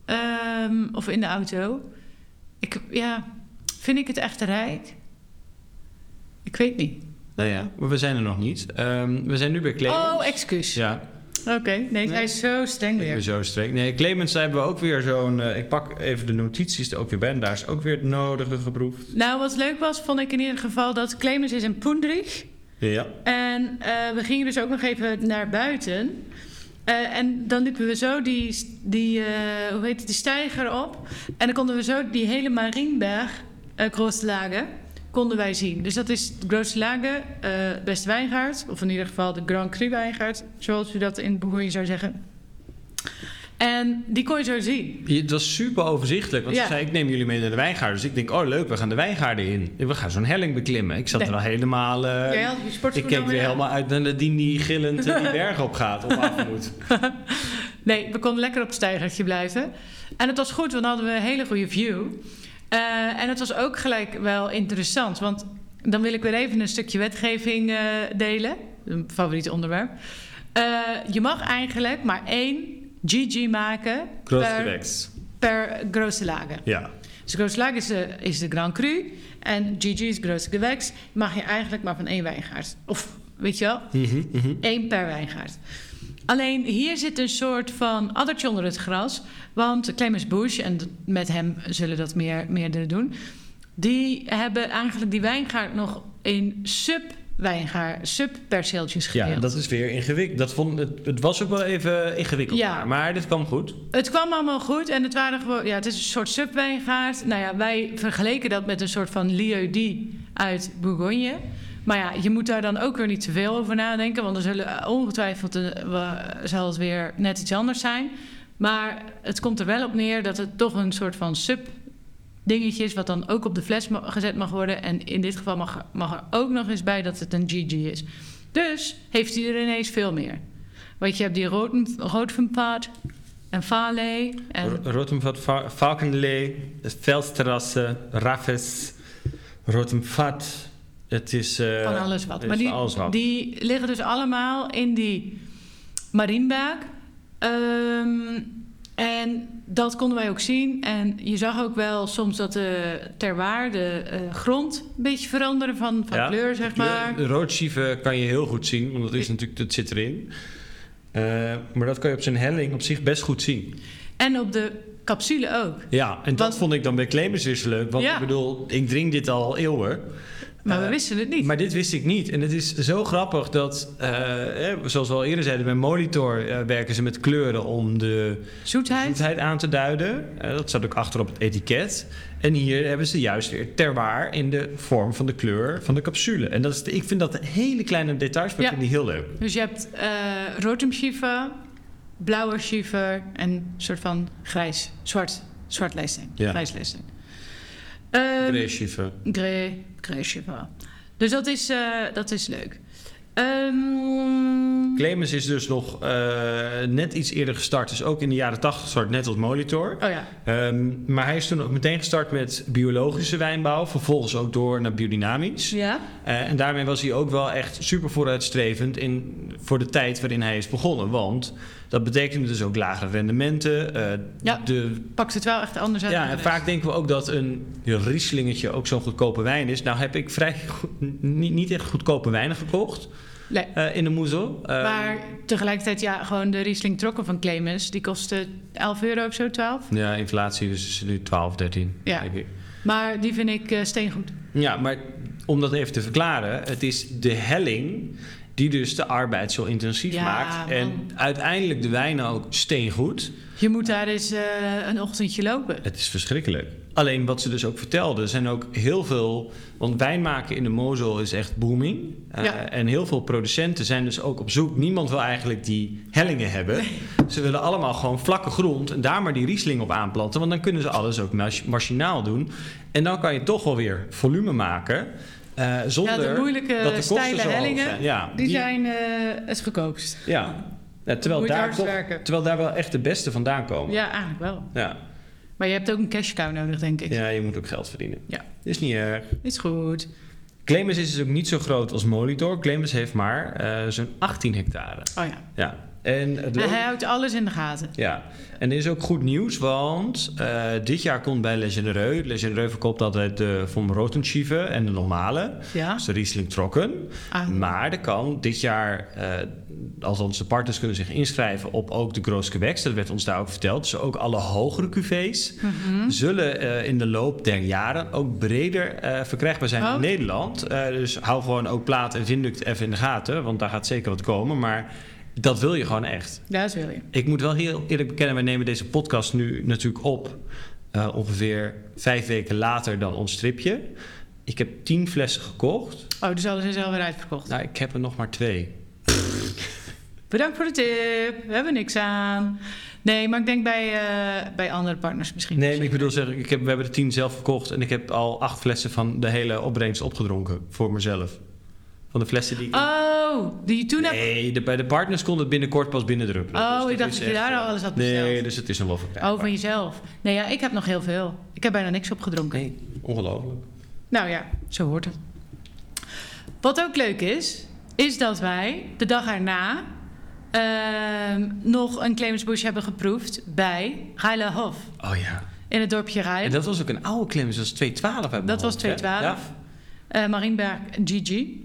Ehm, of in de auto. Ik, ja, vind ik het echt rijk? Ik weet niet. Nou ja, maar we zijn er nog niet. Ehm, we zijn nu bij Clemens. Oh, excuus. Ja, Oké, nee, hij is zo streng Ik ben weer. zo streng. Nee, Clemens daar hebben we ook weer zo'n... eh, ik pak even de notities er ook weer bij. En daar is ook weer het nodige geproefd. Nou, wat leuk was, vond ik in ieder geval dat Clemens is in Poendrich. Ja. En eh, we gingen dus ook nog even naar buiten. Eh, en dan liepen we zo die, die, eh, hoe heet het, die steiger op. En dan konden we zo die hele Marienberg, uh, Grooslage, konden wij zien. Dus dat is Grooslage, eh Best Wijngaard. Of in ieder geval de Grand Cru Wijngaard. Zoals u dat in het Boeien zou zeggen. En die kon je zo zien. Je- Het was super overzichtelijk. Want Ja. ze zei, ik neem jullie mee naar de wijngaarden. Dus ik denk, oh leuk, we gaan de wijngaarden in. We gaan zo'n helling beklimmen. Ik zat Nee. er al helemaal... eh, Jij had je sportschoenen ik keek alweer weer aan. helemaal uit naar Nadine die gillend *laughs* eh, die berg op gaat. Of af moet. Nee, we konden lekker op het steigertje blijven. En het was goed, want dan hadden we een hele goede view. Eh, en het was ook gelijk wel interessant. Want dan wil ik weer even een stukje wetgeving eh, delen. Een favoriet onderwerp. Eh, je mag eigenlijk maar één GG maken per, Cross per grote lagen. Ja. Dus grote lagen is de, is de Grand Cru. En GG is grote gewächs. Mag je eigenlijk maar van één wijngaard. Of weet je wel, Mhm. Eén per wijngaard. Alleen hier zit een soort van addertje onder het gras. Want Clemens Bush, en d- met hem zullen dat meer, meerdere doen... die hebben eigenlijk die wijngaard nog in sub-wijngaar, sub-perceeltjes gedeeld. Ja, dat is weer ingewikkeld. Dat vond, het, het was ook wel even ingewikkeld. Ja. daar, Maar dit kwam goed. Het kwam allemaal goed en het waren gewoon... Ja, het is een soort subwijngaard. Nou ja, wij vergeleken dat met een soort van lieu die uit Bourgogne. Maar ja, je moet daar dan ook weer niet te veel over nadenken... want er zullen eh, ongetwijfeld een, wa- zal het weer net iets anders zijn. Maar het komt er wel op neer dat het toch een soort van sub dingetje is... wat dan ook op de fles ma- gezet mag worden. En in dit geval mag, mag er ook nog eens bij dat het een GG is. Dus heeft hij er ineens veel meer. Want je hebt die Roten- Roodvenpaard en Vale. En R- Rotemvat, Va- Valkenlee, Veldterrassen, Raffes, Rotemvat. Het is... eh, van alles het wat. is Maar die, van alles wat. die liggen dus allemaal in die Marienberg. Ehm, en dat konden wij ook zien. En je zag ook wel soms dat de ter waarde eh, grond een beetje veranderen van, van Ja, kleur, zeg de kleur- maar. De roodschieven kan je heel goed zien, want dat, is natuurlijk, dat zit erin. Eh, maar dat kan je op zijn helling op zich best goed zien. En op de capsule ook. Ja, en dat Want- vond ik dan bij Clemens weer zo leuk. Want Ja. ik bedoel, ik drink dit al eeuwen. Maar we Eh, wisten het niet. Maar dit wist ik niet. En het is zo grappig dat, eh, eh, zoals we al eerder zeiden, bij Molitor eh, werken ze met kleuren om de Zoetheid. zoetheid aan te duiden. Eh, dat staat ook achter op het etiket. En hier hebben ze juist weer terwaar in de vorm van de kleur van de capsule. En dat is, ik vind dat hele kleine details, maar Ja. ik vind die heel leuk. Dus je hebt eh rotemschieven, blauwe schieven en een soort van grijs, zwart, zwart lijsting. Ja. Grijs lijsting. Ehm, Brezhnev. Grey, grey Shiva. Dus dat is, eh, dat is leuk. Ehm, Clemens is dus nog eh, net iets eerder gestart. Dus ook in de jaren 80 gestart, net als Molitor. oh ja, Ehm, maar hij is toen ook meteen gestart met biologische wijnbouw. Vervolgens ook door naar biodynamisch. ja. Eh, en daarmee was hij ook wel echt super vooruitstrevend in, voor de tijd waarin hij is begonnen. Want dat betekende dus ook lagere rendementen. eh, Ja. de, Pakt het wel echt anders uit. dan ja, de en rest. vaak denken we ook dat een rieslingetje ook zo'n goedkope wijn is. Nou heb ik vrij goed- niet, niet echt goedkope wijnen gekocht Nee. eh, in de moezel. Eh, maar tegelijkertijd, ja, gewoon de Riesling Trokken van Clemens. Die kostte 11 euro of zo, 12. Ja, inflatie dus is nu 12, 13. Ja. denk ik. Maar die vind ik eh, steengoed. ja, maar om dat even te verklaren. Het is de helling Die dus de arbeid zo intensief Ja, maakt. En man. uiteindelijk de wijnen ook steengoed. Je moet daar eens eh, een ochtendje lopen. Het is verschrikkelijk. Alleen wat ze dus ook vertelden, er zijn ook heel veel. Want wijnmaken in de Mosel is echt booming. Eh, Ja. En heel veel producenten zijn dus ook op zoek. Niemand wil eigenlijk die hellingen hebben. Ze willen allemaal gewoon vlakke grond en daar maar die Riesling op aanplanten. Want dan kunnen ze alles ook mach- machinaal doen. En dan kan je toch wel weer volume maken. eh, Ja, zonder de moeilijke, dat de kosten steile zo hoog hellingen, zijn. Ja, Die zijn eh, het goedkoopst. Ja. Ja, terwijl, Moet je daar hard toch, werken. terwijl daar wel echt de beste vandaan komen. Ja, eigenlijk wel. Ja. Maar je hebt ook een cash cow nodig, denk ik. Ja, je moet ook geld verdienen. Ja. Is niet erg. Is goed. Clemens is dus ook niet zo groot als Molitor. Clemens heeft maar eh, zo'n 18 hectare. Oh ja. Ja. En het Maar leuke- hij houdt alles in de gaten. ja, en er is ook goed nieuws, want eh, dit jaar komt bij Le Genereux. Le Genereux verkoopt altijd de Von Rotenschieven en de normale. Ja. Dus de Riesling Trokken. Ah. Maar er kan dit jaar, eh althans de partners kunnen zich inschrijven op ook de Groos Quebec. Dat werd ons daar ook verteld. Dus ook alle hogere cuvées Mhm. zullen eh, in de loop der jaren ook breder eh, verkrijgbaar zijn Oh. in Nederland. Eh, dus hou gewoon ook plaat en vinduct even in de gaten, want daar gaat zeker wat komen. Maar dat wil je gewoon echt. Daar wil je. Ik moet wel heel eerlijk bekennen, wij nemen deze podcast nu natuurlijk op eh, ongeveer vijf weken later dan ons tripje. Ik heb tien flessen gekocht. Oh, dus alles is alweer uitverkocht. Nou, ik heb er nog maar twee. Bedankt voor de tip. We hebben niks aan. Nee, maar ik denk bij, eh, bij andere partners misschien. Nee, maar ik bedoel zeggen, ik heb, we hebben er tien zelf verkocht en ik heb al acht flessen van de hele opbrengst opgedronken voor mezelf. Van de flessen die ik. Oh, die je toen hebt... Nee, de, bij de partners kon het binnenkort pas binnendruppelen. Oh, dat ik dacht is dat je echt, daar eh, al alles had Nee, besteld. dus het is nog wel verkrijgbaar. Oh, van jezelf. Nee, ja, ik heb nog heel veel. Ik heb bijna niks opgedronken. Nee, ongelooflijk. Nou ja, zo hoort het. Wat ook leuk is, is dat wij de dag erna ehm, nog een Clemensbush hebben geproefd bij Geilehof Oh ja. in het dorpje Rijp. En dat was ook een oude klim, dus dat is 212 uit mijn Dat was hoofd, hè? 212. Ja. eh Marienberg Gigi.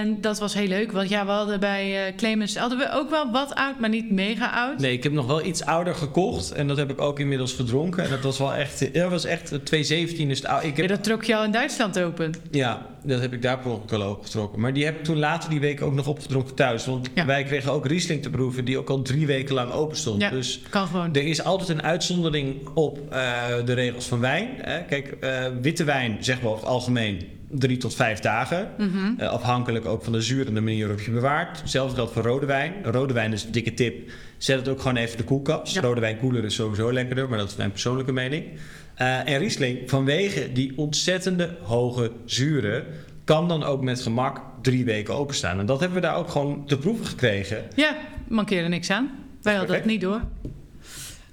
En dat was heel leuk, want ja, we hadden bij eh Clemens hadden we ook wel wat oud, maar niet mega oud. Nee, ik heb nog wel iets ouder gekocht. En dat heb ik ook inmiddels gedronken. En dat was wel echt... eh, Dat was echt eh, 217 is het oude. Ik heb, Ja, dat trok je al in Duitsland open. Ja, dat heb ik daar per ongeluk al opgetrokken. Maar die heb ik toen later die week ook nog opgedronken thuis. Want Ja. wij kregen ook Riesling te proeven... die ook al drie weken lang open stond. Ja, Dus kan gewoon. Er is altijd een uitzondering op eh, de regels van wijn. Hè. Kijk, eh, witte wijn, zeggen we over het algemeen, drie tot vijf dagen. Mhm. Eh, afhankelijk ook van de zuur en de manier waarop je bewaart. Hetzelfde geldt voor rode wijn. Rode wijn is een dikke tip. Zet het ook gewoon even in de koelkast. Ja. Rode wijn koeler is sowieso lekkerder, maar dat is mijn persoonlijke mening. Eh, en Riesling, vanwege die ontzettende hoge zuren, kan dan ook met gemak drie weken openstaan. En dat hebben we daar ook gewoon te proeven gekregen. Ja, mankeerde niks aan. Wij hadden Perfect. het niet door.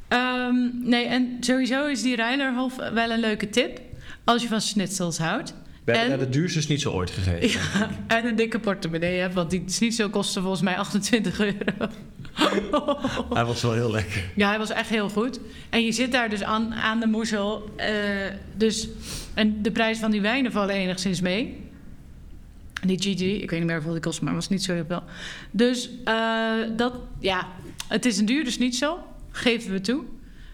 Ehm, nee, en sowieso is die Reilerhof wel een leuke tip. Als je van schnitzels houdt. We En? hebben daar de duurste schnitzel ooit gegeven. Ja, en een dikke portemonnee hebt, want die schnitzel kostte volgens mij 28 euro. *laughs* Hij was wel heel lekker. Ja, hij was echt heel goed. En je zit daar dus aan, aan de moezel. eh, dus, en de prijs van die wijnen vallen enigszins mee. Die Gigi, ik weet niet meer hoeveel die kost, maar was niet zo heel veel. Dus eh, dat, ja, het is een duur, dus niet zo. Geven we toe.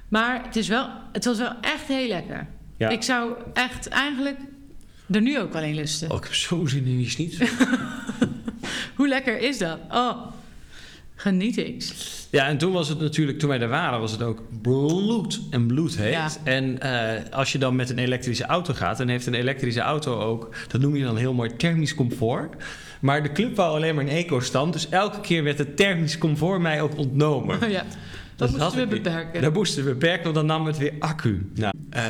Maar het, is wel, het was wel echt heel lekker. Ja. Ik zou echt eigenlijk er nu ook wel in lusten. Oh, ik heb zo zin in die schnitzel. Hoe lekker is dat? Oh, geniet ik. *laughs* ja, en toen was het natuurlijk, toen wij daar waren, was het ook bloed en bloed heet. Ja. En eh, als je dan met een elektrische auto gaat, dan heeft een elektrische auto ook, dat noem je dan heel mooi thermisch comfort. Maar de club wou alleen maar een eco-stand, dus elke keer werd het thermisch comfort mij ook ontnomen. Oh ja, dat, had moeten we ik niet. beperken. Dat moesten we beperken, want dan nam het weer accu. Nou, eh,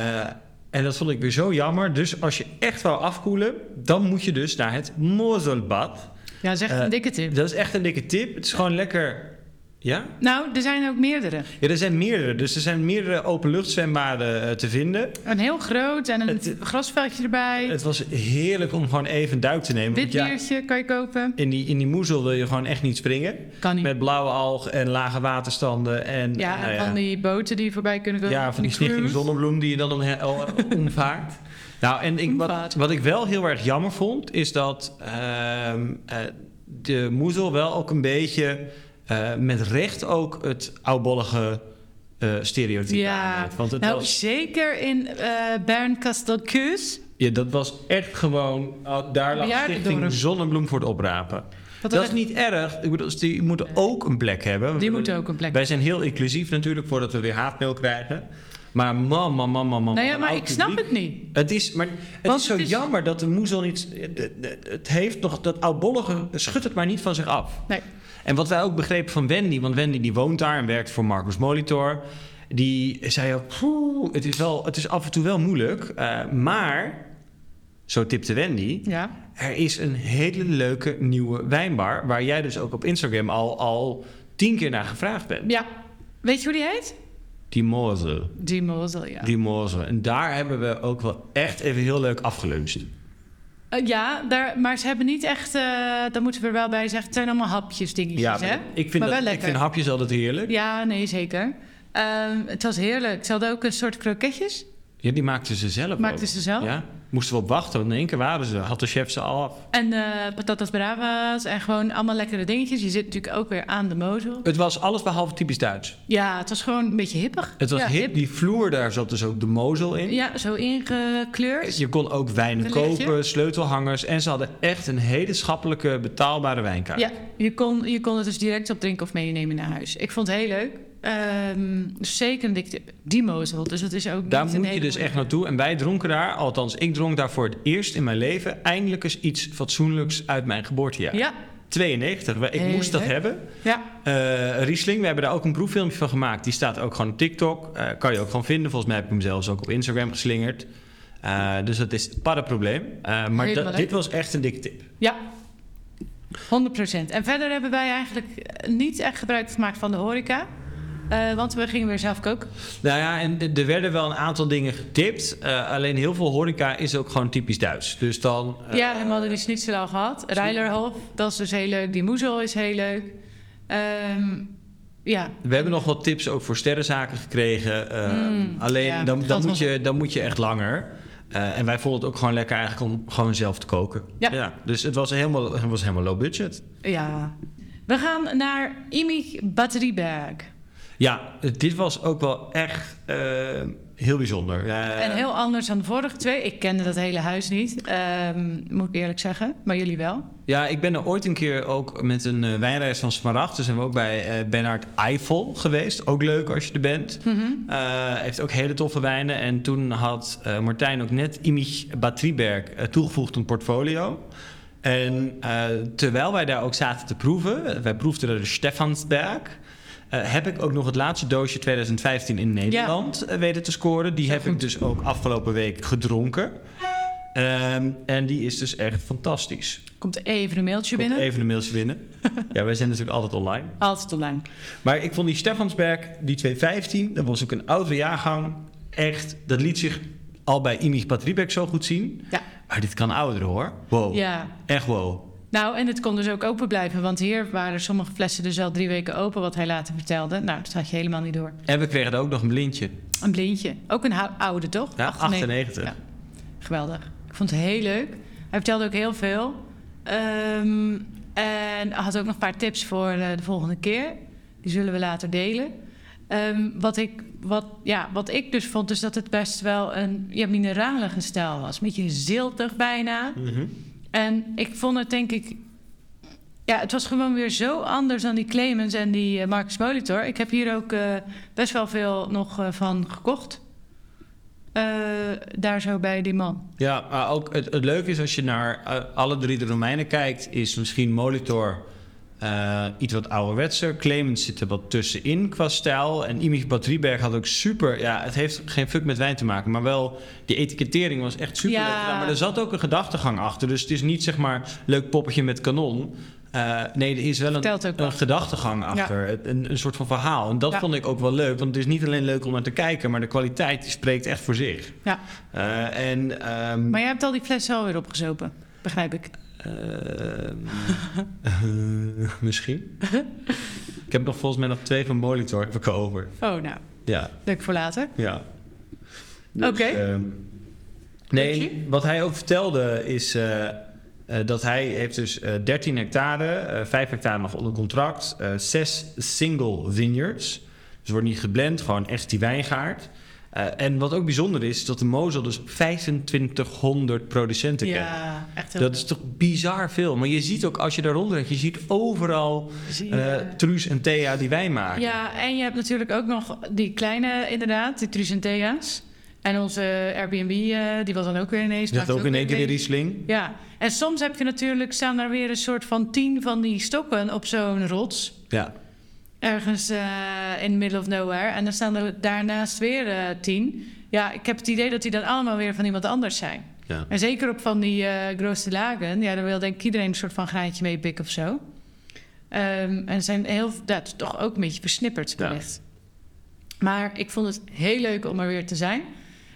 en dat vond ik weer zo jammer. Dus als je echt wou afkoelen, dan moet je dus naar het Mozelbad. Ja, dat is echt Eh, een dikke tip. Dat is echt een dikke tip. Het is gewoon lekker. Ja? Nou, er zijn ook meerdere. Ja, er zijn meerdere. Dus er zijn meerdere openluchtzwembaden eh, te vinden. Een heel groot en een Het- grasveldje erbij. Het was heerlijk om gewoon even een duik te nemen. Wit Want ja, biertje kan je kopen. in die, in die moezel wil je gewoon echt niet springen. Kan niet. Met blauwe alg en lage waterstanden. En, ja, nou en van die boten die voorbij kunnen komen. ja, van die stichting Zonnebloem die je dan om, om- *laughs* omvaart. Nou, en ik, wat, Omvaart. wat ik wel heel erg jammer vond, is dat ehm, eh, de moezel wel ook een beetje eh, met recht ook het oudbollige eh stereotype Ja. aanneemt. Want het nou, was, zeker in eh bern kastelkuus ja, dat was echt gewoon, oh, daar lag Bejaardendoren. stichting Zonnebloem voor het oprapen. Wat Dat er- is niet erg. Ik bedoel, dus die moeten ook een plek hebben. Die moeten ook een plek Wij zijn heel inclusief natuurlijk voordat we weer haatmail krijgen. Maar man, man, man, man, man. Nou ja, een maar oud ik snap publiek. het niet. Het is, maar het Want is zo het is- jammer dat de moezel niet... Het heeft nog... Dat oudbollige schudt het maar niet van zich af. Nee. En wat wij ook begrepen van Wendy, want Wendy die woont daar en werkt voor Marcus Molitor. Die zei ook, "Poeh, het is, wel, het is af en toe wel moeilijk. eh, maar, zo tipte Wendy, Ja. er is een hele leuke nieuwe wijnbar. Waar jij dus ook op Instagram al, al tien keer naar gevraagd bent. ja. Weet je hoe die heet? Die Mozel. Die Mosel, ja. Die Mozel. En daar hebben we ook wel echt even heel leuk afgeluncht. Eh, ja, daar, maar ze hebben niet echt... eh daar moeten we er wel bij zeggen. Het zijn allemaal hapjes, dingetjes, hè? ik vind, maar dat, wel ik lekker. vind hapjes altijd heerlijk. Ja, nee, zeker. Ehm, het was heerlijk. Ze hadden ook een soort kroketjes. Ja, die maakten ze zelf ook. Maakten ze zelf. Ja, moesten we op wachten, want in één keer waren ze, had de chef ze al af. En eh, patatas bravas en gewoon allemaal lekkere dingetjes. Je zit natuurlijk ook weer aan de mozel. Het was alles behalve typisch Duits. Ja, het was gewoon een beetje hippig. Het was ja, hip, die vloer daar zat dus ook de mozel in. Ja, zo ingekleurd. Je kon ook Een wijn lichtje. kopen, sleutelhangers. En ze hadden echt een hele schappelijke, betaalbare wijnkaart. Ja, je kon, je kon het dus direct opdrinken of meenemen naar huis. Ik vond het heel leuk. Ehm, dus zeker een dikte, die mozel. Dus dat is ook Daar niet een moet je hele dus moeilijke- echt naartoe. En wij dronken daar, althans ik dronk daar voor het eerst in mijn leven... eindelijk eens iets fatsoenlijks uit mijn geboortejaar. Ja, 92, we- ik Heel moest dat leuk. hebben. ja. Eh, Riesling, we hebben daar ook een proeffilmpje van gemaakt. Die staat ook gewoon op TikTok. Eh, kan je ook gewoon vinden. Volgens mij heb ik hem zelfs ook op Instagram geslingerd. Eh, dus dat is para probleem. Eh, maar Helemaal dat- leuk. dit was echt een dikke tip. ja. 100%. En verder hebben wij eigenlijk eh, niet echt gebruik gemaakt van de horeca. Eh, want we gingen weer zelf koken. Nou ja, en d- er werden wel een aantal dingen getipt. Eh, alleen heel veel horeca is ook gewoon typisch Duits. Dus dan... eh, ja, we hadden die schnitzel al gehad. Reilerhof, dat is dus heel leuk. Die moezel is heel leuk. Ehm, ja, We hebben nog wat tips ook voor sterrenzaken gekregen. Eh, Mm, alleen ja, dan, dat dan, moet was- je, dan moet je echt langer. Eh, en wij vonden het ook gewoon lekker eigenlijk om gewoon zelf te koken. Ja. dus het was helemaal, het was helemaal low budget. ja. We gaan naar Imig Batterieberg. Ja, dit was ook wel echt eh, heel bijzonder. Eh, En heel anders dan de vorige twee. Ik kende dat hele huis niet, ehm, moet ik eerlijk zeggen. Maar jullie wel. Ja, ik ben er ooit een keer ook met een eh, wijnreis van Smaragd. Dus zijn we ook bij eh Bernard Eiffel geweest. Ook leuk als je er bent. Mhm. Eh, heeft ook hele toffe wijnen. En toen had eh, Martijn ook net Imich Batrieberg eh, toegevoegd aan het portfolio. En eh, terwijl wij daar ook zaten te proeven, eh, wij proefden er de Stefansberg. eh, heb ik ook nog het laatste doosje 2015 in Nederland eh, weten te scoren. Die heb ik dus ook afgelopen week gedronken. Ehm, en die is dus echt fantastisch. Komt even een mailtje Komt binnen. Even een mailtje *laughs* binnen. ja, wij zijn natuurlijk altijd online. Altijd online. Maar ik vond die Stefansberg, die 215, dat was ook een oude jaargang. Echt, dat liet zich al bij Imich Patriebeck zo goed zien. Ja. Maar dit kan ouder hoor. Wow. Ja. Echt wow. Nou, en het kon dus ook open blijven. Want hier waren sommige flessen dus al drie weken open, wat hij later vertelde. Nou, dat had je helemaal niet door. En we kregen er ook nog een blindje. Een blindje. Ook een hou- oude, toch? Ja, 98. 98. Ja. Geweldig. Ik vond het heel leuk. Hij vertelde ook heel veel. Ehm, en had ook nog een paar tips voor eh, de volgende keer. Die zullen we later delen. Ehm, wat, ik, wat, ja, wat ik dus vond, is dat het best wel een ja, mineralige stijl was. Een beetje ziltig bijna. Mhm. En ik vond het denk ik... Ja, het was gewoon weer zo anders dan die Clemens en die eh, Marcus Molitor. Ik heb hier ook eh, best wel veel nog eh, van gekocht. Eh, daar zo bij die man. Ja, maar ook het, het leuke is als je naar eh, alle drie de Romeinen kijkt, is misschien Molitor eh, iets wat ouderwetser. Clemens zit er wat tussenin qua stijl. En Imich Patrieberg had ook super. Ja, het heeft geen fuck met wijn te maken, maar wel die etikettering was echt super. Ja. leuk gedaan. Maar er zat ook een gedachtegang achter. Dus het is niet zeg maar leuk poppetje met kanon. Eh, nee, er is wel een, Vertelt ook een wat. gedachtegang achter. Het- Een, een soort van verhaal. En dat Ja. vond ik ook wel leuk. Want het is niet alleen leuk om naar te kijken, maar de kwaliteit die spreekt echt voor zich. Ja. Eh, en, ehm, Maar jij hebt al die flessen alweer opgezopen, begrijp ik. Ehm, *laughs* eh, misschien. ik heb nog volgens mij nog twee van Molitor heb ik over. Oh, nou, Ja, leuk voor later. ja. Oké. ehm, nee, Richie? wat hij ook vertelde is eh, eh, dat hij heeft dus eh 13 hectare, eh 5 hectare nog onder contract, eh 6 single vineyards. Dus wordt niet geblend, gewoon echt die wijngaard. Eh, Eh, en wat ook bijzonder is, is dat de Mosel dus 2500 producenten kent. Ja, echt heel Dat is toch bizar veel. Maar je ziet ook, als je daaronder hebt, je ziet overal Zie je. eh Truus en Thea die wij maken. Ja, en je hebt natuurlijk ook nog die kleine, inderdaad, die Tricentea's. En onze Airbnb, eh, die was dan ook weer ineens. Je hebt maakte ook in één keer weer mee. Riesling. Ja, en soms heb je natuurlijk, staan daar weer een soort van tien van die stokken op zo'n rots. Ja. Ergens eh, in the middle of nowhere. En dan staan er daarnaast weer eh, tien. Ja, ik heb het idee dat die dan allemaal weer van iemand anders zijn. Ja. En zeker op van die eh grootste lagen. Ja, daar wil denk ik iedereen een soort van graantje mee pikken of zo. Ehm, en zijn heel, dat is toch ook een beetje versnipperd Ja. wellicht. Maar ik vond het heel leuk om er weer te zijn.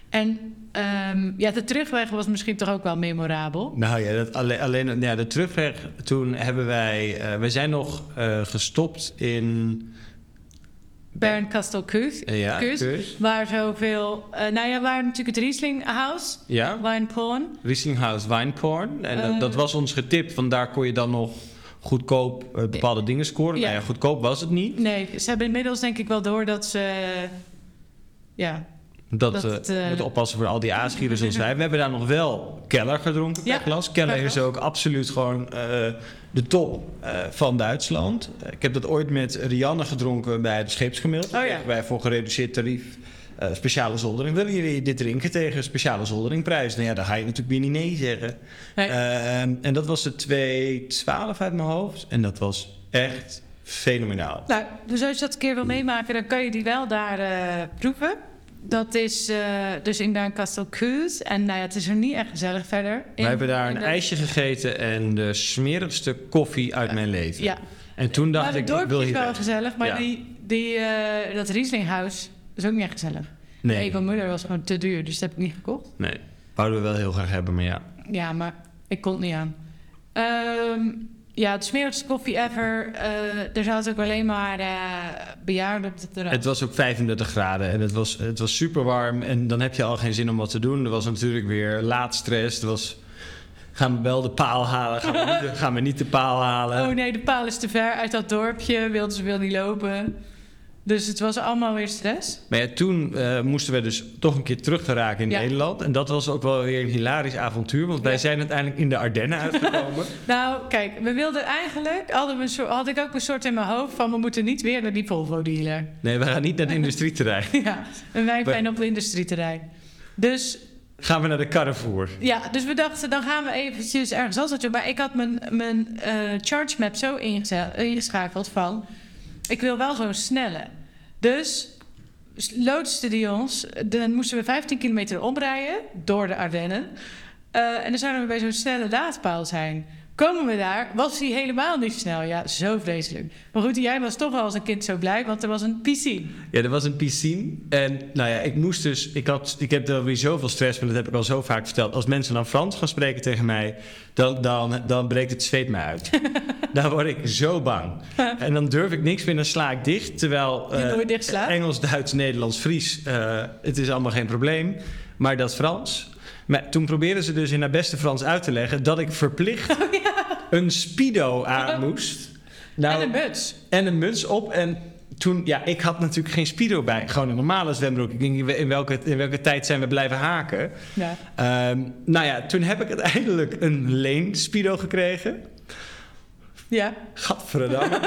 En ehm, ja, de terugweg was misschien toch ook wel memorabel. Nou ja, dat alleen, alleen nou ja, de terugweg. Toen hebben wij. eh wij zijn nog eh, gestopt in. Bern Castel Kuth, eh, ja, Kuth, Keus. waar zoveel... eh, nou ja, waar natuurlijk het Riesling House, Ja, Wine Porn. Rieslinghouse Wineporn. En dat, Eh. dat was ons getipt, want daar kon je dan nog goedkoop eh, bepaalde dingen scoren. Ja. Nou ja, goedkoop was het niet. Nee, ze hebben inmiddels denk ik wel door dat ze... eh, ja, Dat, Dat eh, het, eh, we moeten oppassen voor al die aasgieren zoals wij. We hebben daar nog wel Keller gedronken per Ja, glas. Keller per is glas. ook absoluut gewoon eh, de top eh, van Duitsland. Eh, ik heb dat ooit met Rianne gedronken bij de Scheepsgemiddeld. Oh ja. Kregen Wij voor gereduceerd tarief eh, speciale zoldering. Willen jullie dit drinken tegen een speciale zolderingprijs? Nou ja, daar ga je natuurlijk weer niet nee zeggen. Nee. Eh, en dat was de 2,12 uit mijn hoofd. En dat was echt fenomenaal. Nou, dus als je dat een keer wil meemaken, dan kan je die wel daar eh, proeven. Dat is eh, dus in Bernkastel Kuus. En nou ja, het is er niet echt gezellig verder. In- Wij hebben daar in een de- ijsje gegeten en de smerigste koffie uit mijn leven. Ja, En toen dacht maar het ik, ik dorpje wil is hier wel weg. gezellig. Maar Ja. die, die, eh, dat Rieslinghuis is ook niet echt gezellig. Nee. Nee, Evan Muller was gewoon te duur, dus dat heb ik niet gekocht. nee. Wouden we wel heel graag hebben, maar ja. Ja, maar ik kon het niet aan. Ehm, ja, het smerigste koffie ever. Eh, er zaten ook alleen maar eh, bejaarden op de terras. Het was ook 35 graden en het was, het was super warm. En dan heb je al geen zin om wat te doen. Er was natuurlijk weer laat stress. Er was, gaan we wel de paal halen? Gaan we *laughs* niet de, gaan we niet de paal halen? Oh nee, de paal is te ver uit dat dorpje. Wilden ze wil niet lopen. Dus het was allemaal weer stress. Maar ja, toen eh, moesten we dus toch een keer terug te raken in Ja. Nederland. En dat was ook wel weer een hilarisch avontuur. Want wij Ja. zijn uiteindelijk in de Ardennen *laughs* uitgekomen. Nou, kijk, we wilden eigenlijk... Hadden we een soort, had ik ook een soort in mijn hoofd van... we moeten niet weer naar die Volvo-dealer. nee, we gaan niet naar het industrieterrein. *laughs* ja, een wijnpijn op het industrieterrein. Dus Gaan we naar de Carrefour. ja, dus we dachten, dan gaan we eventjes ergens anders naartoe. Maar ik had mijn, mijn eh, charge map zo ingeze- ingeschakeld van... ik wil wel zo'n snelle. Dus s- loodste die ons. Dan moesten we 15 kilometer omrijden door de Ardennen. Eh, en dan zouden we bij zo'n snelle laadpaal zijn. Komen we daar, was hij helemaal niet snel. Ja, zo vreselijk. Maar goed, jij was toch wel als een kind zo blij, want er was een piscine. Ja, er was een piscine. En nou ja, ik moest dus. Ik, had, ik heb er weer zoveel stress, maar dat heb ik al zo vaak verteld. Als mensen dan Frans gaan spreken tegen mij, dan, dan, dan breekt het zweet mij *laughs* uit. dan word ik zo bang. En dan durf ik niks meer, dan sla ik dicht. Terwijl Je eh, nooit dicht slaat? Engels, Duits, Nederlands, Fries, eh, het is allemaal geen probleem. Maar dat Frans. Maar toen probeerden ze dus in haar beste Frans uit te leggen dat ik Oh, verplicht een Speedo aan moest. en Nou, een muts. en een muts op. En toen, ja, ik had natuurlijk geen speedo bij. Gewoon een normale zwembroek. Ik denk, in welke, in welke tijd zijn we blijven haken? Ja. Ehm, nou ja, toen heb ik uiteindelijk een leen speedo gekregen. Ja. Gadverdamme.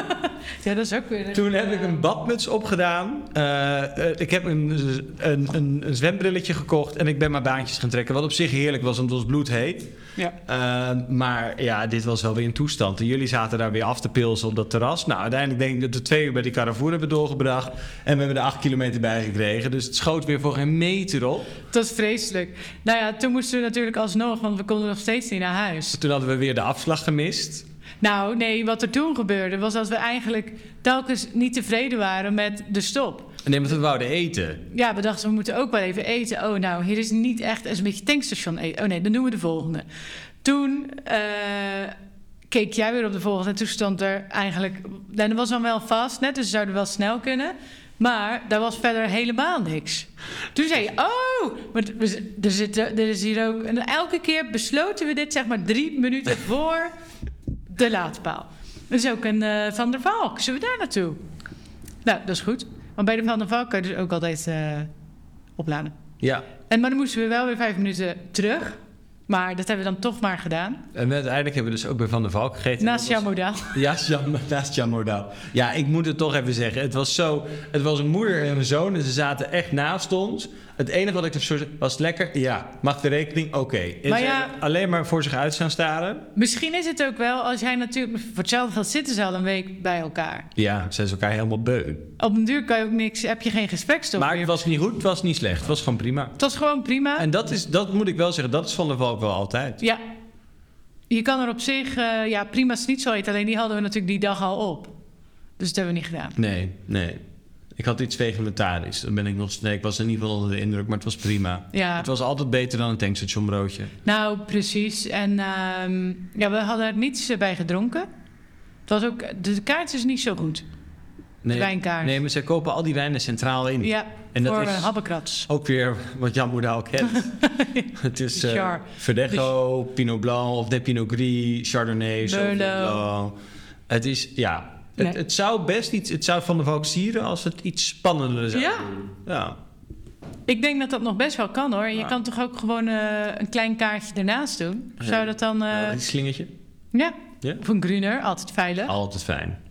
ja, dat is ook weer... toen heb ik een badmuts opgedaan. Eh, eh, ik heb een, een, een, een zwembrilletje gekocht. En ik ben maar baantjes gaan trekken. Wat op zich heerlijk was, want het was bloedheet. Ja. Ehm, maar ja, dit was wel weer een toestand. En jullie zaten daar weer af te pilsen op dat terras. Nou, uiteindelijk denk ik dat we twee uur bij die Carrefour hebben doorgebracht. En we hebben er acht kilometer bij gekregen. Dus het schoot weer voor geen meter op. Dat is vreselijk. Nou ja, toen moesten we natuurlijk alsnog, want we konden nog steeds niet naar huis. Toen hadden we weer de afslag gemist. Nou, nee, wat er toen gebeurde was dat we eigenlijk telkens niet tevreden waren met de stop. Nee, want we wouden eten. Ja, we dachten we moeten ook wel even eten. Oh, nou, hier is niet echt is een beetje tankstation eten. Oh nee, dan doen we de volgende. Toen eh, keek jij weer op de volgende en toen stond er eigenlijk. En dat was dan wel vast, net, dus we zouden wel snel kunnen. Maar daar was verder helemaal niks. Toen zei je, oh, maar we- er, zit, er is hier ook... En elke keer besloten we dit, zeg maar, drie minuten voor de laadpaal. Er is ook een eh, Van der Valk. Zullen we daar naartoe? Nou, dat is goed. Want bij de Van der Valk kun je dus ook altijd eh, opladen. Ja, En, maar dan moesten we wel weer vijf minuten terug. Maar dat hebben we dan toch maar gedaan. en uiteindelijk hebben we dus ook bij Van der Valk gegeten. Naast jouw Dat was- modaal. Ja, *laughs* Jan, naast Jan Moordaal. Ja, ik moet het toch even zeggen. Het was zo... Het was een moeder en een zoon en ze zaten echt naast ons. Het enige wat ik zo was het lekker? Ja. Mag de rekening? Oké. En Maar ze ja- alleen maar voor zich uit staan staren. Misschien is het ook wel als jij natuurlijk... Voor hetzelfde geld zitten ze al een week bij elkaar. Ja, ze is elkaar helemaal beu. Op een duur kan je ook niks... Heb je geen gesprekstof Maar meer. het was niet goed, het was niet slecht. Het was gewoon prima. Het was gewoon prima. En dat, is, dat moet ik wel zeggen, dat is Van der Valk wel altijd. Ja. Je kan er op zich... eh, ja, prima snitsel eten. Alleen die hadden we natuurlijk die dag al op. Dus dat hebben we niet gedaan. Nee, nee. Ik had iets vegetarisch. Dan ben ik nog nee, ik was in ieder geval onder de indruk, maar het was prima. Ja. Het was altijd beter dan een tankstationbroodje. Nou, precies. En ehm, ja, we hadden er niets eh, bij gedronken. Het was ook, de kaart is niet zo goed. Nee, wijnkaart. Nee, maar zij kopen al die wijnen centraal in. Ja, Hm. En dat voor is- eh, habbekrats. Ook weer wat Jan Moeda ook *laughs* kent. het is De eh, Char. Dus- Verdecho, Pinot Blanc of de Pinot Gris, Chardonnay, Sauvignon Merlot. Blanc. Het is, ja... Het, Nee. het zou best iets, het zou van de Valk sieren als het iets spannender zou Ja. doen. Ja. Ik denk dat dat nog best wel kan hoor. En je Ja. kan toch ook gewoon eh, een klein kaartje ernaast doen? Of Zou dat dan... eh, Ja, dit slingertje. ja. Ja. Of een gruner, altijd veilig. Altijd fijn.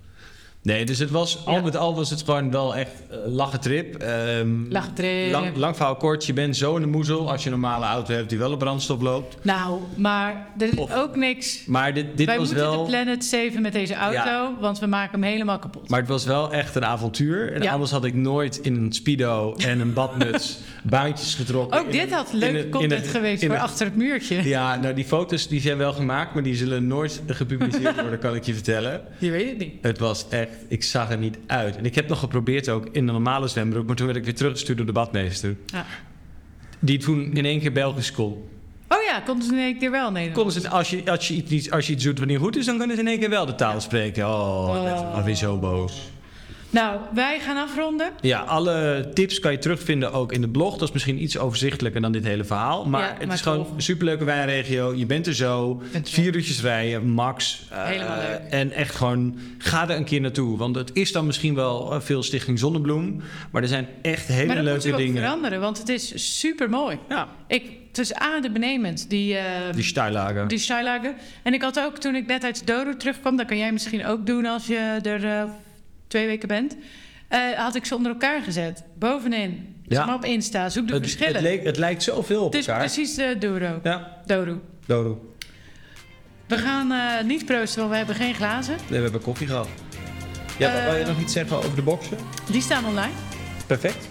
Nee, dus het was, al met al was het gewoon wel echt eh, lachen trip. Ehm, Lachen trip. Lang, lang verhaal kort, je bent zo in de moezel als je een normale auto hebt die wel op brandstof loopt. Nou, maar er is Of- ook niks... Maar dit, dit Wij was moeten de wel... planet saven met deze auto, Ja. want we maken hem helemaal kapot. *laughs* Maar het was wel echt een avontuur. En Ja. anders had ik nooit in een speedo en een *laughs* badmuts baantjes getrokken. ook In- dit had in leuk een- in content een- geweest in voor een- achter het muurtje. Ja, nou die foto's die zijn wel gemaakt, maar die zullen nooit gepubliceerd worden, kan ik je vertellen. Je weet het niet. Het was echt, ik zag er niet uit. En ik heb nog geprobeerd ook in een normale zwembroek, maar toen werd ik weer teruggestuurd door de badmeester. Ja. Die toen in één keer Belgisch kon. Oh ja, konden ze in één keer wel Nederlands. Konden ze, als, je, als, je iets, niet- als je iets doet wat niet goed is, dan kunnen ze in één keer wel de taal spreken. Oh, ik werd Oh. alweer zo boos. Nou, wij gaan afronden. Ja, alle tips kan je terugvinden ook in de blog. Dat is misschien iets overzichtelijker dan dit hele verhaal. Maar Ja, het maar is gewoon toch. een superleuke wijnregio. Je bent er zo. Bent er zo. Vier uurtjes rijden, max. Eh, Helemaal leuk. En echt gewoon, ga er een keer naartoe. Want het is dan misschien wel eh, veel Stichting Zonnebloem. Maar er zijn echt hele maar dat leuke moeten we ook dingen. veranderen, want het is super mooi. Ja, Ik, het is A, de benemend, die, eh die stijlagen. die stijlagen. En ik had ook toen ik net uit Dodo terugkwam, dat kan jij misschien ook doen als je er eh, twee weken bent. eh, had ik ze onder elkaar gezet. Bovenin. Ja. Zeg maar op Insta. Zoek de het, verschillen. het, leek, het lijkt zoveel op het is elkaar. precies de Dodo. Ja, Dodo. Dodo. We gaan eh, niet proosten, want we hebben geen glazen. Nee, we hebben koffie gehad. Ja, Eh, wil je nog iets zeggen over de boksen? Die staan online. Perfect.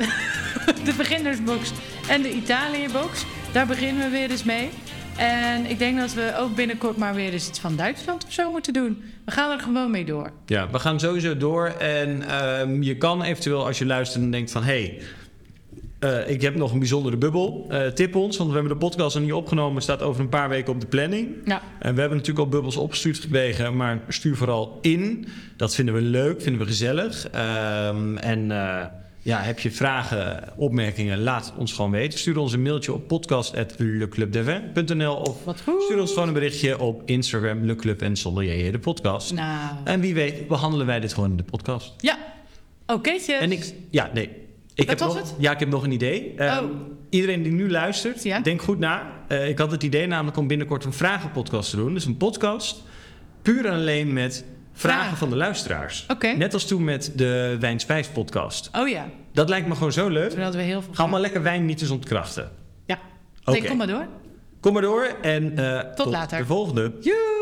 de beginnersbox en de Italië-box. Daar beginnen we weer eens mee. En ik denk dat we ook binnenkort maar weer eens iets van Duitsland of zo moeten doen. We gaan er gewoon mee door. Ja, we gaan sowieso door. En ehm, je kan eventueel als je luistert en denkt van... hé, hey, eh, ik heb nog een bijzondere bubbel. Eh, tip ons, want we hebben de podcast nog niet opgenomen. staat over een paar weken op de planning. Ja, En we hebben natuurlijk al bubbels opgestuurd gekregen, maar stuur vooral in. Dat vinden we leuk, vinden we gezellig. Ehm, en eh, ja, heb je vragen, opmerkingen, laat het ons gewoon weten. Stuur ons een mailtje op podcast.leclubdevin.nl of wat goed. stuur ons gewoon een berichtje op Instagram, Le Club en zonder JJ de podcast. Nou, En wie weet behandelen wij dit gewoon in de podcast. ja. Oh, Oké, En ik, ja, nee. Ik heb Wat was nog, het? Ja, ik heb nog een idee. Ehm, Oh. Iedereen die nu luistert, Ja. denk goed na. Eh, ik had het idee namelijk om binnenkort een vragenpodcast te doen. Dus een podcast puur en alleen met vragen, Vragen. van de luisteraars. Oké. Net als toen met de Wijnspijs podcast. Oh ja, Dat lijkt me gewoon zo leuk. toen hadden we heel veel. Ga maar lekker wijn niet eens ontkrachten. Ja. Oké, Nee, kom maar door. kom maar door en eh, tot, later. de volgende. Joe!